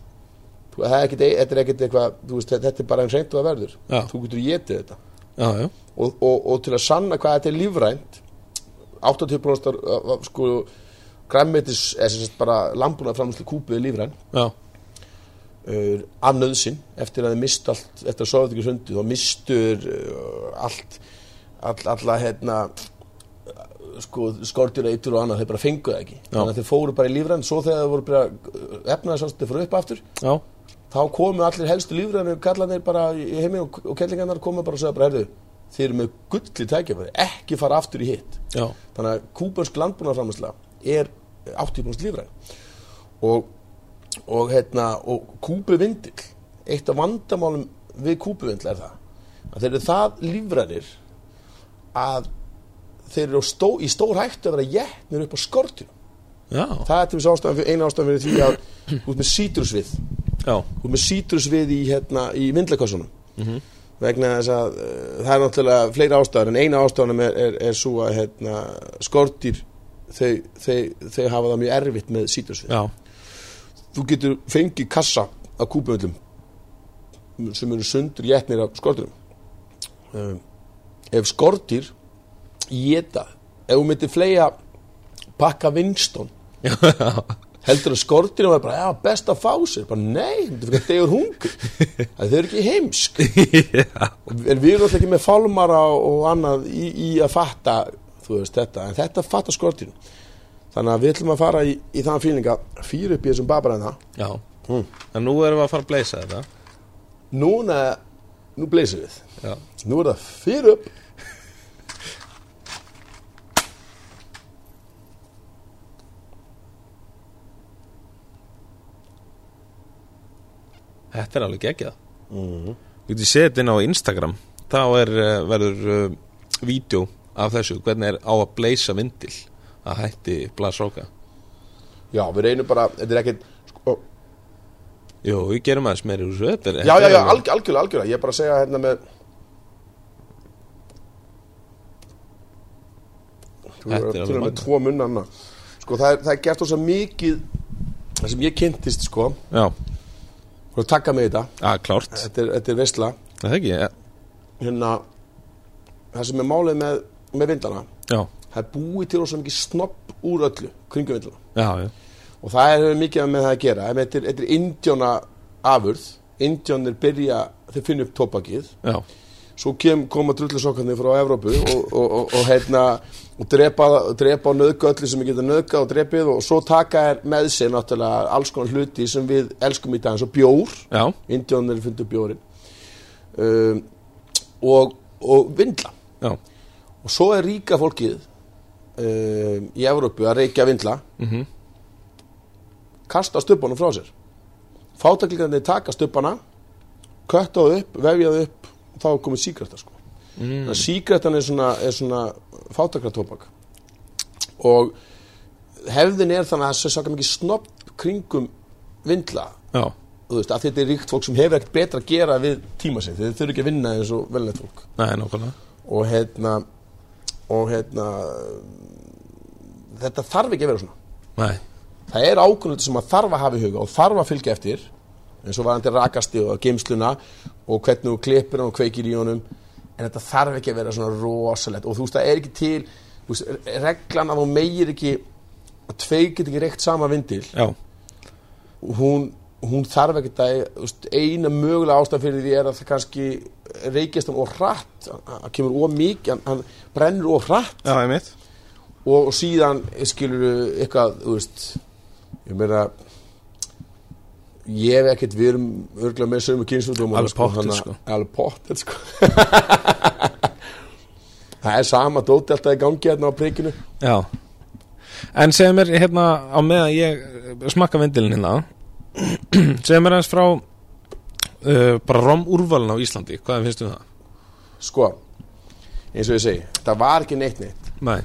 Speaker 2: Þú- það er ekkit, þetta er ekkit eitthvað þú veist, þetta er bara eins reynd og það verður
Speaker 1: Já.
Speaker 2: þú getur getið þetta
Speaker 1: Já, já.
Speaker 2: og, og, og til að sanna hvað þetta er lífrænt 80% af- af- af, sko græmmetis eða sem sagt bara lambuna framhanslu kúpu er lífræn
Speaker 1: Já.
Speaker 2: uh, af nöðsin eftir að þið mist allt eftir að sofa ekki sundu þá mistur uh, allt all, alla hérna sko skortjur eitur og annað þeir bara fengu það ekki þannig að þeir fóru bara í lífræn svo þegar þeir voru bara efnaði sannst þeir fóru upp aftur
Speaker 1: Já.
Speaker 2: þá komu allir helstu lífræðinu kallanir bara í heimi og, og kellingarnar komu bara og segja bara, herðu, þeir eru með gulli tækjafæri, ekki fara aftur í hitt
Speaker 1: Já.
Speaker 2: þannig að kúbansk landbúnaðarframlæsla er 80% lífræðin og, og, hérna, og kúbuvindil eitt af vandamálum við kúbuvindil er það að þeir eru það lífræðir að þeir eru á stó, í stór hættu að vera jætnir upp á skortinu
Speaker 1: Já.
Speaker 2: það er til þess ástæðan fyrir eina ástæðan fyrir því að út með sítrusvið
Speaker 1: Já.
Speaker 2: og með sítrusvið í, hérna, í vindlakossunum vegna þess að uh, það er náttúrulega fleiri ástæður en eina ástæðanum er, er, er svo að hérna, skortýr þau, þau, þau hafa það mjög erfitt með sítrusvið
Speaker 1: Já.
Speaker 2: þú getur fengið kassa af kúbumöllum sem eru sundur jætnir af skortýrum um, ef skortýr geta, ef þú myndir fleia pakka vinstón heldur að skortinu var bara, já, best að fá sér bara, nei, þetta fyrir að degur hung það þau eru ekki heimsk
Speaker 1: Já.
Speaker 2: en við erum alltaf ekki með fálmara og annað í, í að fatta þú veist þetta, en þetta fatta skortinu þannig að við ætlum að fara í, í þann fílinga fyrir upp í hérna. þessum babaræðina
Speaker 1: Já. En nú erum við að fara að bleysa þetta.
Speaker 2: núna nú bleysum við
Speaker 3: Já.
Speaker 2: nú er það fyrir upp
Speaker 3: Þetta er alveg geggjað
Speaker 2: Hmm.
Speaker 1: Þú getur setið inn á Instagram þá er, eh, verður uh, vídeo af þessu, hvernig er á að bleysa vindil að hætti blasróka
Speaker 2: já, við reynum bara, þetta er ekkert sko,
Speaker 1: Jú, við gerum aðeins meiri úr þessu þetta er-
Speaker 2: já,
Speaker 1: þetta
Speaker 2: já,
Speaker 1: er
Speaker 2: já,
Speaker 1: alveg-
Speaker 2: alg, algjörlega, algjörlega ég er bara að segja hérna með þú
Speaker 1: Þetta er
Speaker 2: er
Speaker 1: alveg
Speaker 2: að tala með
Speaker 1: magnað.
Speaker 2: tvo munna annað. sko, það er, það er gert þess mikið það sem ég kynntist, sko
Speaker 1: Já,
Speaker 2: þú að taka mig í þetta,
Speaker 1: að klárt
Speaker 2: þetta er, þetta er veistla
Speaker 1: Það er ekki, ja.
Speaker 2: hérna það sem er málið með, með vindana
Speaker 1: já,
Speaker 2: það er búið til ósum mikið snopp úr öllu kringum vindana
Speaker 1: já, já
Speaker 2: og það er hefur mikið með það að gera Ef þetta er, þetta er indjóna afurð indjónir byrja, þeir finna upp tópakið
Speaker 1: Já,
Speaker 2: svo kem, koma drullusokkarnir frá Evrópu og, og, og, og hérna og drepa, drepa og nöðga öllu sem við getum nöðga og drepið og svo taka er með sér náttúrulega alls konar hluti sem við elskum í dag eins og bjór
Speaker 1: já,
Speaker 2: indjónir fundu bjórin um, og, og vindla
Speaker 1: já,
Speaker 2: og svo er ríka fólkið um, í Evrópu að reykja vindla
Speaker 1: mhm,
Speaker 2: kasta stubbanum frá sér fátaklingarnir taka stubbana kötta það upp, vefja það upp og þá er komið síkretta sko mm. síkrettan er svona, er svona fátakratobak og hefðin er þannig að það er svaka mikið snopp kringum vindla
Speaker 1: já
Speaker 2: þú veist, að þetta er ríkt fólk sem hefur ekkert betra að gera við tíma sitt, þeir þurfi ekki að vinna eins og velnett fólk
Speaker 1: Nei, nákvæmlega
Speaker 2: og hérna og hérna þetta þarf ekki að vera svona
Speaker 1: Nei,
Speaker 2: það er ákvörðunum sem að þarf að hafa í huga og þarf að fylgja eftir eins og varandi rakasti og geimsluna og hvernig þú klippir hann og kveikir í honum en þetta þarf ekki að vera svona rosalegt og þú veist það er ekki til þú veist, reglan að þú meir ekki að tveir get ekki reykt sama vindil
Speaker 1: já,
Speaker 2: hún, hún þarf ekki að þú veist, eina mögulega ástæð fyrir því er að það kannski reykjast hann og hratt hann- hann kemur of mikið, hann, hann brennur of hratt
Speaker 1: já, ég mitt
Speaker 2: og, og síðan skilur eitthvað, þú veist ég meina ég hef ekkert, við erum örgulega með sömu kynsvöldum
Speaker 1: Alveg pottþétt, sko.
Speaker 2: alveg pottet sko það er sama dóti alltaf í gangi hérna á prikinu
Speaker 1: Já En segja mér hérna á meðan ég eh, smakka vindilin hérna segja mér aðeins frá uh, bara romúrvalin á Íslandi hvað finnst um það?
Speaker 2: sko, eins og ég segi þetta var ekki neitt neitt
Speaker 1: Nei,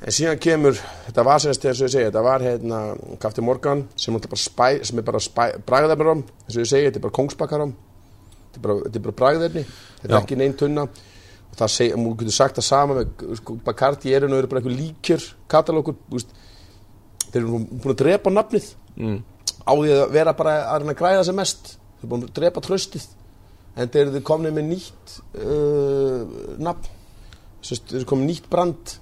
Speaker 2: en síðan kemur, þetta var sem þetta eins og ég segi þetta var hérna Kafti Morgan sem, náttúrulega bara spæ, sem er bara spæ, bragðarum eins og ég segi, þetta er bara kongsbakarum þetta er bara, þetta er bara bragðefni þetta
Speaker 1: Já.
Speaker 2: er ekki neinn tunna og það segi, mú getur sagt það sama með sko, Bacardi erinu eru bara einhver líkjör katalókur, þú veist þeir eru nú búin að drepa nafnið
Speaker 1: Mm.
Speaker 2: á því að vera bara að reyna að græða sem mest þeir eru búin að drepa tröstið en þeir eru komnið með nýtt uh, nafn Sest, þeir eru komið með nýtt brand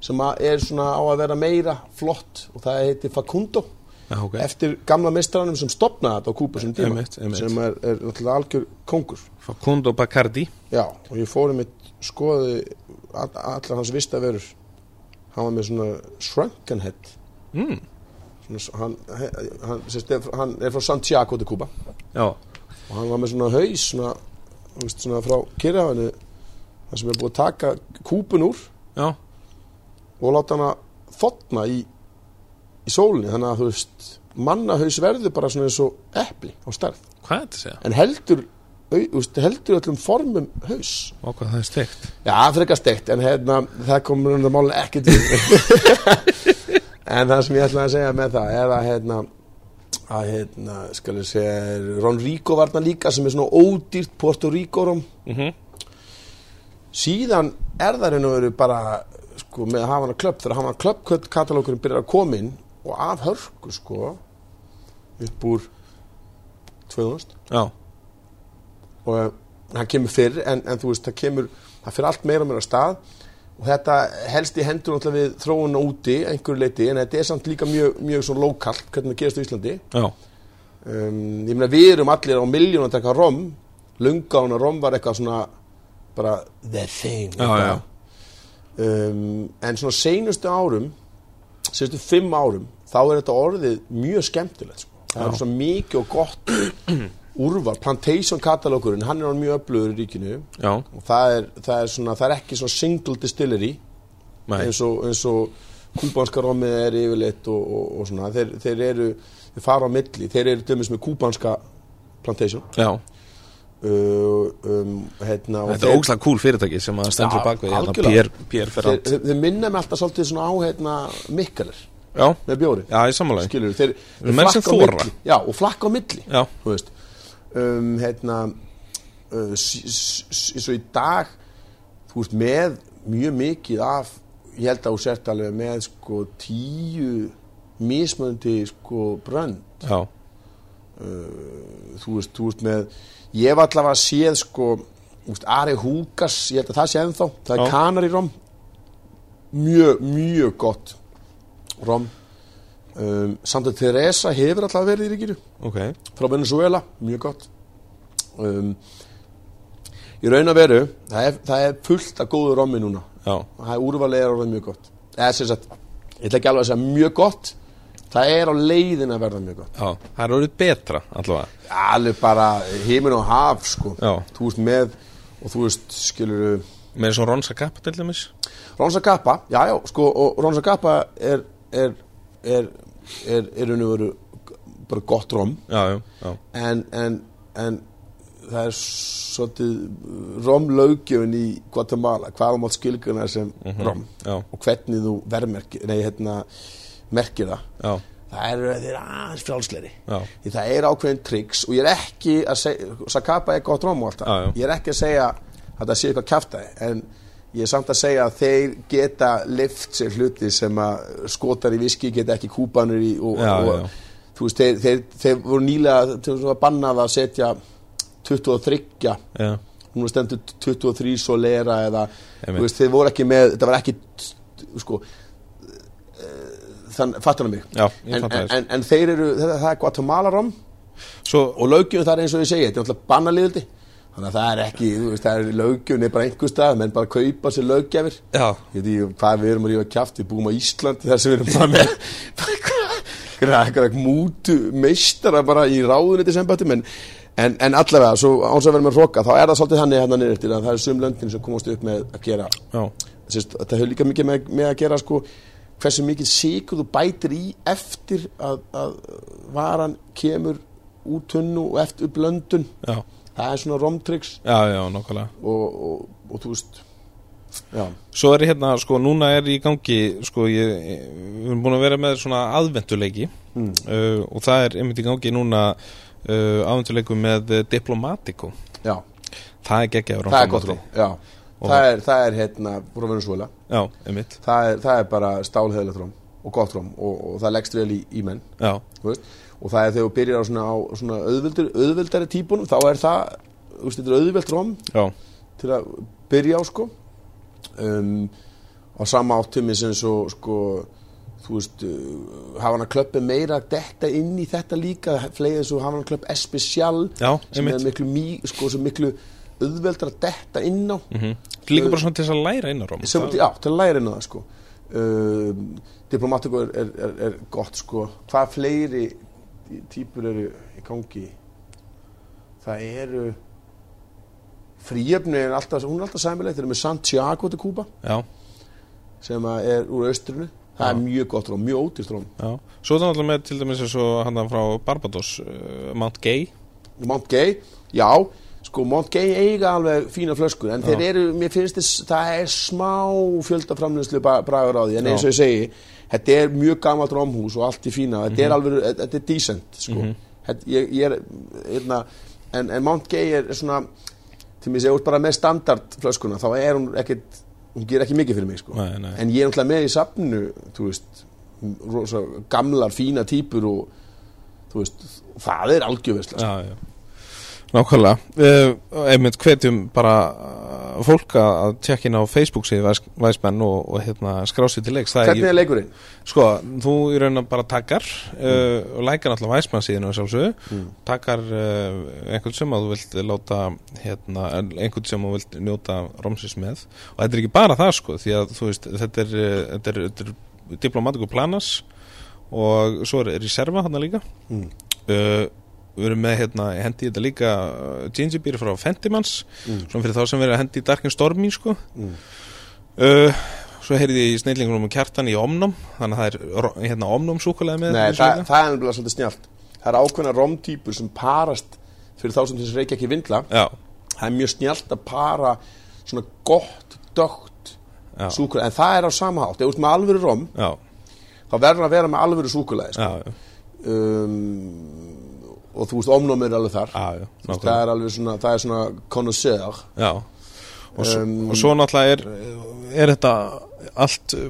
Speaker 2: sem að er svona á að vera meira flott og það heitir Facundo
Speaker 1: já, ok
Speaker 2: eftir gamla mestranum sem stopnaði þetta á Kúpa sem tíma
Speaker 1: Einmitt, einmitt.
Speaker 2: sem er, er náttúrulega algjör kongur
Speaker 1: Facundo Bacardi
Speaker 2: Já, og ég fór um eitt skoði all, allar hans vista verur hann var með svona shrunken head
Speaker 1: mm.
Speaker 2: svona, s- hann, he- hann, sérst, er, hann er frá Santiago de Cuba
Speaker 1: Já,
Speaker 2: og hann var með svona haus svona, þú veist, svona frá kyrrahafinu þar sem er búið að taka kúpun úr
Speaker 1: já,
Speaker 2: og láta hana þotna í, í sólinni þannig að þú veist mannahaus verður bara svona eins og epli á stærð
Speaker 1: hvað er þetta að segja?
Speaker 2: en heldur, au, þú veist, heldur öllum formum haus
Speaker 1: Ó, hvað það er steikt
Speaker 2: Já, frekar steikt, en hérna, það komur undir málun ekkert við. en það sem ég ætlaði að segja með það er að, hérna, að, hérna, skal ég segja, er Ron Rico varna líka sem er svona ódýrt Porto Rico-rom.
Speaker 1: mm -hmm.
Speaker 2: Síðan er það raun og veru bara, sko, með að hafa hana klöpp, þegar hafa hana klöpp katalókurinn byrjar að koma inn og af hörku, sko, upp úr 2000
Speaker 1: Já,
Speaker 2: og eh, það kemur fyrr en, en þú veist, það kemur, það fyrir allt meira og meira af stað og þetta helst í hendur náttúrulega við þróuna úti einhverju leiti en þetta er samt líka mjög, mjög svo lokalt hvernig það gerast á Íslandi
Speaker 1: já,
Speaker 2: um, ég meina við erum allir á miljón að taka rom lunga hún að rom var eitthvað svona bara the thing
Speaker 1: já, já, já.
Speaker 2: um, en svona seinustu árum seinustu fimm árum þá er þetta orðið mjög skemmtilegt sko. það
Speaker 1: Já.
Speaker 2: er svo mikið og gott úrval, Plantation katalókurinn hann er hann mjög öflugur í ríkinu
Speaker 1: Já,
Speaker 2: og það er, það er, svona, það er ekki svona single distillery
Speaker 1: nei,
Speaker 2: eins og, eins og kúbanska rommið er yfirleitt og, og, og svona þeir, þeir eru, þeir fara á milli þeir eru dæmis með kúbanska plantation
Speaker 1: já
Speaker 2: uh, um, hérna, og
Speaker 3: Þetta er ógslag kúl fyrirtæki sem að stendur
Speaker 2: Já,
Speaker 3: bak við hérna,
Speaker 2: algjörlega.
Speaker 3: Pér, Pér
Speaker 2: þeir,
Speaker 3: Ferrand
Speaker 2: þeir, þeir minna með alltaf svolítið svona á hérna, mikkalir
Speaker 1: Já,
Speaker 2: með bjóri
Speaker 1: já, í samanlega
Speaker 2: skilur þeir,
Speaker 1: Eru menn sem
Speaker 2: flakka á
Speaker 1: þora.
Speaker 2: milli, já, og flakka á milli
Speaker 1: Já,
Speaker 2: þú veist um, hérna uh, s- s- s- eins og í dag þú veist með mjög mikið af ég held að þú sért alveg með sko tíu mismöndi sko brönd
Speaker 1: já,
Speaker 2: þú veist, þú veist með ég var allavega séð sko þú veist, Ari Húkas, ég held að það sé ennþá það
Speaker 1: Já.
Speaker 2: er kanar í rom mjög, mjög gott rom um, samt að Teresa hefur allavega verið í ríkinu
Speaker 1: ok
Speaker 2: frá Venezuela, mjög gott um, í raun að veru það er, það er fullt af góðu rommi núna
Speaker 1: Já,
Speaker 2: það er úrvalið er orðið mjög gott eða sem sagt, ég ætla ekki alveg að segja mjög gott það er á leiðin að verða mjög gott
Speaker 1: já, það er orðið betra allavega
Speaker 2: alveg bara heimin og haf sko.
Speaker 1: Já.
Speaker 2: þú veist með og þú veist skilur
Speaker 1: Með svona Ronsa Kappa til dæmis
Speaker 2: Ronsa Kappa, já já sko, og Ronsa Kappa er er, er, er, er unni veru bara gott rom
Speaker 1: Já, já, já,
Speaker 2: en, en, en það er svolítið romlaugjöfin í Guatemala hvað þú mátt skilgjuna sem rom
Speaker 1: Mhm, já,
Speaker 2: og hvernig þú vermerkir nei hérna merkir það
Speaker 1: já,
Speaker 2: það eru þeir eru aðeins frjálsleiri
Speaker 1: já
Speaker 2: Því það er ákveðin triks og ég er ekki að segja, Sakapa er gott róm og allt
Speaker 1: Já, já.
Speaker 2: það, ég er ekki að segja að það sé eitthvað kjaftaði, en ég er samt að segja að þeir geta lift sér hluti sem að skotar í viski geta ekki kúpanur í og,
Speaker 1: Já,
Speaker 2: og
Speaker 1: já.
Speaker 2: þú veist, þeir, þeir, þeir voru nýlega til þess að bannað að setja 23
Speaker 1: Já,
Speaker 2: núna stendur 23 svo lera eða,
Speaker 1: Einmitt.
Speaker 2: þú veist, þeir voru ekki með þetta var ekki, sko þann, fattar það mig
Speaker 1: já, ég
Speaker 2: en,
Speaker 1: fatt
Speaker 2: en,
Speaker 1: það
Speaker 2: en, en þeir eru, það, það er Guatemala rom
Speaker 1: Svo,
Speaker 2: og lögjum það er eins og ég segi, þetta er náttúrulega bannalíðildi þannig að það er ekki, þú veist, það er lögjum er bara einhver stað, menn bara kaupa sér lögjafir
Speaker 1: já,
Speaker 2: ég veit ekki hvað við erum að rífa kjátt við búum á Íslandi þar sem við erum bara með eitthvað eitthvað mútu meistara bara í ráðunni sem bættum en, en, en allavega, svo áns að vera með hróka þá er það svolítið þannig hérna niður til að það er sum löndin sem komast upp með að gera
Speaker 1: já,
Speaker 2: Sist, þetta hefur líka mikið með, með að gera sko, hversu mikið sigur þú bætir í eftir að, að varan kemur úr tunnu og eftir upp löndun
Speaker 1: já
Speaker 2: það er svona romtryggs
Speaker 1: Já, já, nokkulega
Speaker 2: og, og, og þú veist já,
Speaker 1: Svo er hérna, sko, núna er í gangi sko, ég, ég- við erum búin að vera með svona aðventuleiki
Speaker 2: Mm.
Speaker 1: uh, og það er einmitt í gangi núna uh, aðventuleiku með eh, Diplomatico
Speaker 2: já,
Speaker 1: Það er geggjaður
Speaker 2: það er gott róm já.
Speaker 1: Og-
Speaker 2: það er, það er hérna frá Venezuela
Speaker 1: Já, einmitt,
Speaker 2: það er, það er bara stálheðilegt róm og gott róm og, og það leggst vel í, í menn
Speaker 1: já,
Speaker 2: þú veist, og það er þegar þú byrjar á svona, á svona auðveldir, auðveldari típunum þá er það, þú veist, þetta er auðveld róm
Speaker 1: já,
Speaker 2: til að byrja á sko um, á sama áttummi sem svo sko þú veist, uh, hafa hann að klöppi meira að detta inn í þetta líka fleið svo hafa hann að klöppi especial
Speaker 1: já,
Speaker 2: sem er
Speaker 1: einmitt
Speaker 2: miklu, mý, sko, sem miklu auðveldar að detta inn á
Speaker 1: mm Líka bara svona til þess að læra inn á Róm
Speaker 2: sem, já, til að læra inn á það sko um, diplomatiku er, er, er, er gott sko hvað fleiri típur eru í gangi það eru fríöfni er alltaf, hún er alltaf sæmileg þeir eru með Santiago til Kúba
Speaker 1: Já,
Speaker 2: sem að er úr austrinu það er
Speaker 1: Já.
Speaker 2: mjög gott róm, mjög ódýrt róm
Speaker 1: já Svo er það náttúrulega með til dæmis eins og hann frá Barbados uh, Mount Gay
Speaker 2: Mount Gay, já sko Mount Gay eiga alveg fína flöskur en
Speaker 1: Já.
Speaker 2: þeir eru, mér finnst þess það er smá fjöldaframlenslu bragur á því en
Speaker 1: Já.
Speaker 2: eins og ég segi, þetta er mjög gamalt romhús og allt í fína þetta
Speaker 1: Mhm.
Speaker 2: er alveg, þetta er decent sko. þetta, ég, ég er, hérna en, en Mount Gay er svona til mér segjum bara með standardflöskuna þá er hún ekkit, hún ger ekki mikið fyrir mig sko.
Speaker 1: Nei, nei.
Speaker 2: en ég er náttúrulega með í safninu þú veist, rosa, gamlar fína típur og þú veist, það er algjöfisla sko.
Speaker 1: Já, já Nákvæmlega, uh, einmitt hvetjum bara uh, fólk að að tjekka inn á Facebook síðu væsmenn og, og hérna, skrási til leiks Það er,
Speaker 2: Hvernig er leikurinn?
Speaker 1: Sko, þú í raun að bara takkar uh, og lækar náttúrulega væsmann síðan og sjálfsög mm. takkar uh, einhvern sem að þú vilt láta hérna, einhvern sem þú vilt njóta romsis með og þetta er ekki bara það sko því að þú veist, þetta er, uh, þetta er, þetta er diplomatiku planas og svo er Reserva hann líka
Speaker 2: Mm.
Speaker 1: uh, við erum með hérna, ég hendi í þetta líka uh, gingibýr frá Fentimans svona fyrir þá sem verið að hendi í Darkin Stormin sko.
Speaker 2: Mm.
Speaker 1: uh, svo heyrði ég í snillingunum um kjartan í Omnum þannig að það er ro- hérna, Omnum súkulega með
Speaker 2: Nei,
Speaker 1: með
Speaker 2: það,
Speaker 1: súkkulaði.
Speaker 2: það er nefnilega svolítið snjált Það er ákveðna romtýpur sem parast fyrir þá sem þessi reykja ekki vindla
Speaker 1: já,
Speaker 2: Það er mjög snjált að para svona gott, dögt
Speaker 1: Já.
Speaker 2: súkulega, en það er á sama hátt Ef þú ert með alvöru rom,
Speaker 1: já,
Speaker 2: þá verður að vera með alvöru súkulega sko.
Speaker 1: já, já,
Speaker 2: um, Og þú veist, omnómið er alveg þar
Speaker 1: já, já,
Speaker 2: Þú veist,
Speaker 1: nákvæmlega.
Speaker 2: Það er alveg svona, það er svona connoisseur
Speaker 1: já. Og, svo,
Speaker 2: Um,
Speaker 1: og svo náttúrulega er, er þetta allt uh,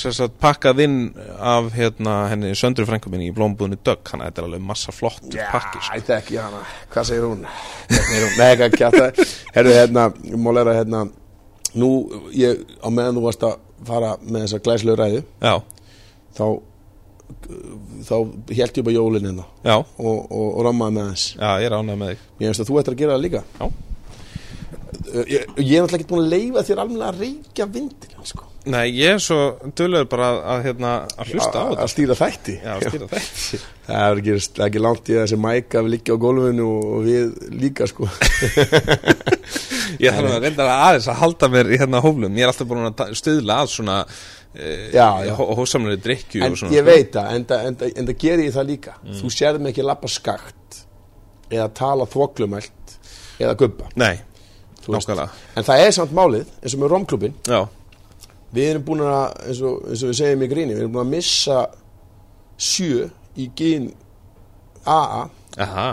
Speaker 1: sem sagt, pakkað inn af hérna, henni söndru frænku minni í blómbúðinu dögg, þannig að þetta er alveg massa flott pakki sko.
Speaker 2: Já, þetta ekki hana, hvað segir hún? Hérna er hún, nei, hvað kjáta Herru, hérna, mál er að hérna Nú, ég, á meðan þú varst að fara með þessa glæslegu ræðu
Speaker 1: já,
Speaker 2: þá þá held ég bara jólinn hérna
Speaker 1: já,
Speaker 2: og, og, og rammaði með hans
Speaker 1: já, ég er ánægð með þig
Speaker 2: Ég veist að þú ættir að gera það líka
Speaker 1: Já.
Speaker 2: Uh, Ég, ég er náttúrulega ekki búin að leifa þér alveg að reykja vindil sko.
Speaker 1: Nei, ég er svo dölur bara að, að, hérna, að hlusta á
Speaker 2: Að-
Speaker 1: þetta sko.
Speaker 2: Að stýra þætti
Speaker 1: Já, skýra þetta
Speaker 2: Það er ekki, það er ekki langt í að þessi mæka við liggja á gólfinu og við líka sko
Speaker 1: Ég þarf að reynda aðeins að halda mér í hérna hóflum Ég er alltaf búin að ta- stuðla að svona eh,
Speaker 2: Já, já.
Speaker 1: hósamlega drikju
Speaker 2: En
Speaker 1: og svona sko. Mm.
Speaker 2: ég veit það, en, það- en, það- en það gerir ég það líka Þú sérð mig ekki lappa skakt eða tala þvoklumælt eða gubba
Speaker 1: Nei,
Speaker 2: þú veist.
Speaker 1: nákvæmlega
Speaker 2: En það er samt málið, eins og með romklubin
Speaker 1: Já,
Speaker 2: Við erum búin að, eins og, eins og við segjum í gríni Við erum búin að missa sjö í gín AA
Speaker 1: aha,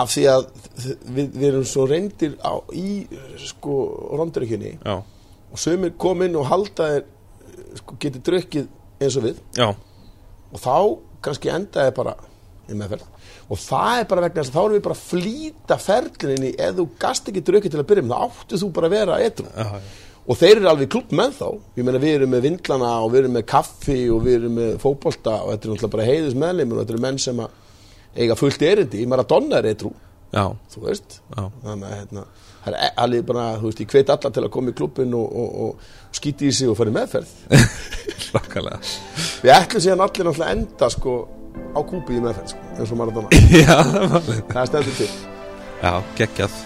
Speaker 2: af því að þ- við, við erum svo reyndir á, í sko romdrykjunni
Speaker 1: já,
Speaker 2: og sömur kom inn og halda þeir sko, getið drukkið eins og við
Speaker 1: já,
Speaker 2: og þá kannski endaði bara í meðferð og það er bara vegna þess að þá erum við bara að flýta ferlinni ef þú gast ekki drukkið til að byrja með þá áttu þú bara að vera etru
Speaker 1: já,
Speaker 2: og þeir eru alveg klúb með þá ég meina við erum með vindlana og við erum með kaffi og við erum með fótbolta og þetta er náttúrulega bara heiðus meðleimur og þetta eru menn sem að eiga fullt erindi, ég meina donna er etru
Speaker 1: já,
Speaker 2: þú veist
Speaker 1: Já.
Speaker 2: þannig að hérna, það er e- alveg bara þú veist, ég hveit alla til að koma í klubin og, og, og skýti í sig og fara í meðferð
Speaker 1: nákvæmlega
Speaker 2: Við ætlum síðan allir náttúrulega að enda sko á kúpi í meðferð sko, eins og Maradona.
Speaker 1: Já, það er málið.
Speaker 2: Það stendur til.
Speaker 1: já, geggjað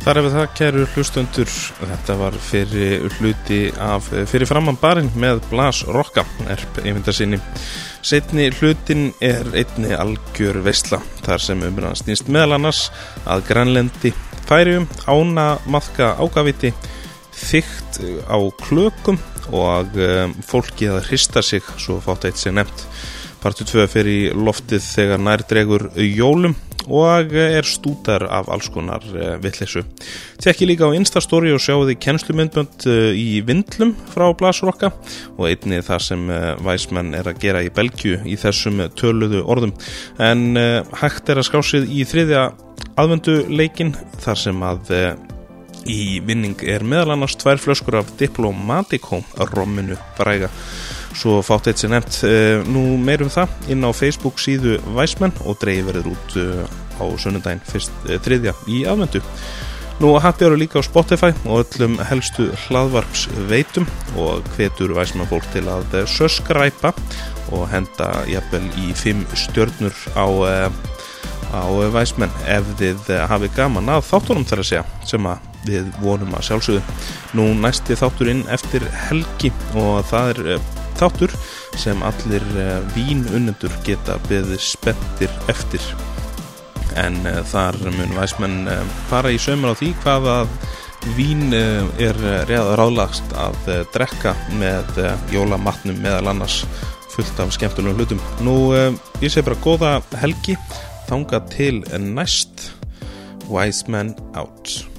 Speaker 1: Þar er við það, kæru hlustundur, þetta var fyrir hluti af eh, fyrir framann barinn með Blas Rokka, erp einmynda sinni. Setni hlutin er einni algjör veisla, þar sem umræðan snýst meðal annars að grænlendi færium, ána, maðka, ágaviti, þygt á klökum og um, fólki að hrista sig, svo fátt eitt sér nefnt. Partu 2 fer í loftið þegar nær dregur jólum og er stútar af alls konar vittleysu. Tekki líka á Instastory og sjáu því kennslumyndbönd eh, í vindlum frá Blasrokka og einni það sem eh, væsmenn er að gera í Belgju í þessum töluðu orðum. En eh, hægt er að skásið í þriðja aðvenduleikin þar sem að eh, í vinning er meðal annars tvær flöskur af Diplomatico romminu fræga svo fátt eitt sem nefnt eh, nú meirum það inn á Facebook síðu Væsmenn og dreifir verður út eh, á sunnudaginn fyrst eh, þriðja í aðvendu Nú að happy eru líka á Spotify og öllum helstu hlaðvarps veitum og hvetur væsmann fólk til að eh, subscribe og henda jafnvel í fimm stjörnur á, eh, á eh, væsmenn ef þið eh, hafið gaman að þáttunum þar að segja sem að við vonum að sjálfsögðu. Nú næsti þátturinn eftir helgi og það er eh, þáttur sem allir eh, vínunendur geta beðið spettir eftir en uh, þar mun væsmenn uh, fara í sömur á því hvað að vín uh, er reða ráðlagst að uh, drekka með uh, jólamatnum meðal annars fullt af skemmtulegum hlutum. Nú, uh, ég segi bara góða helgi, þanga til næst, Wise Men Out.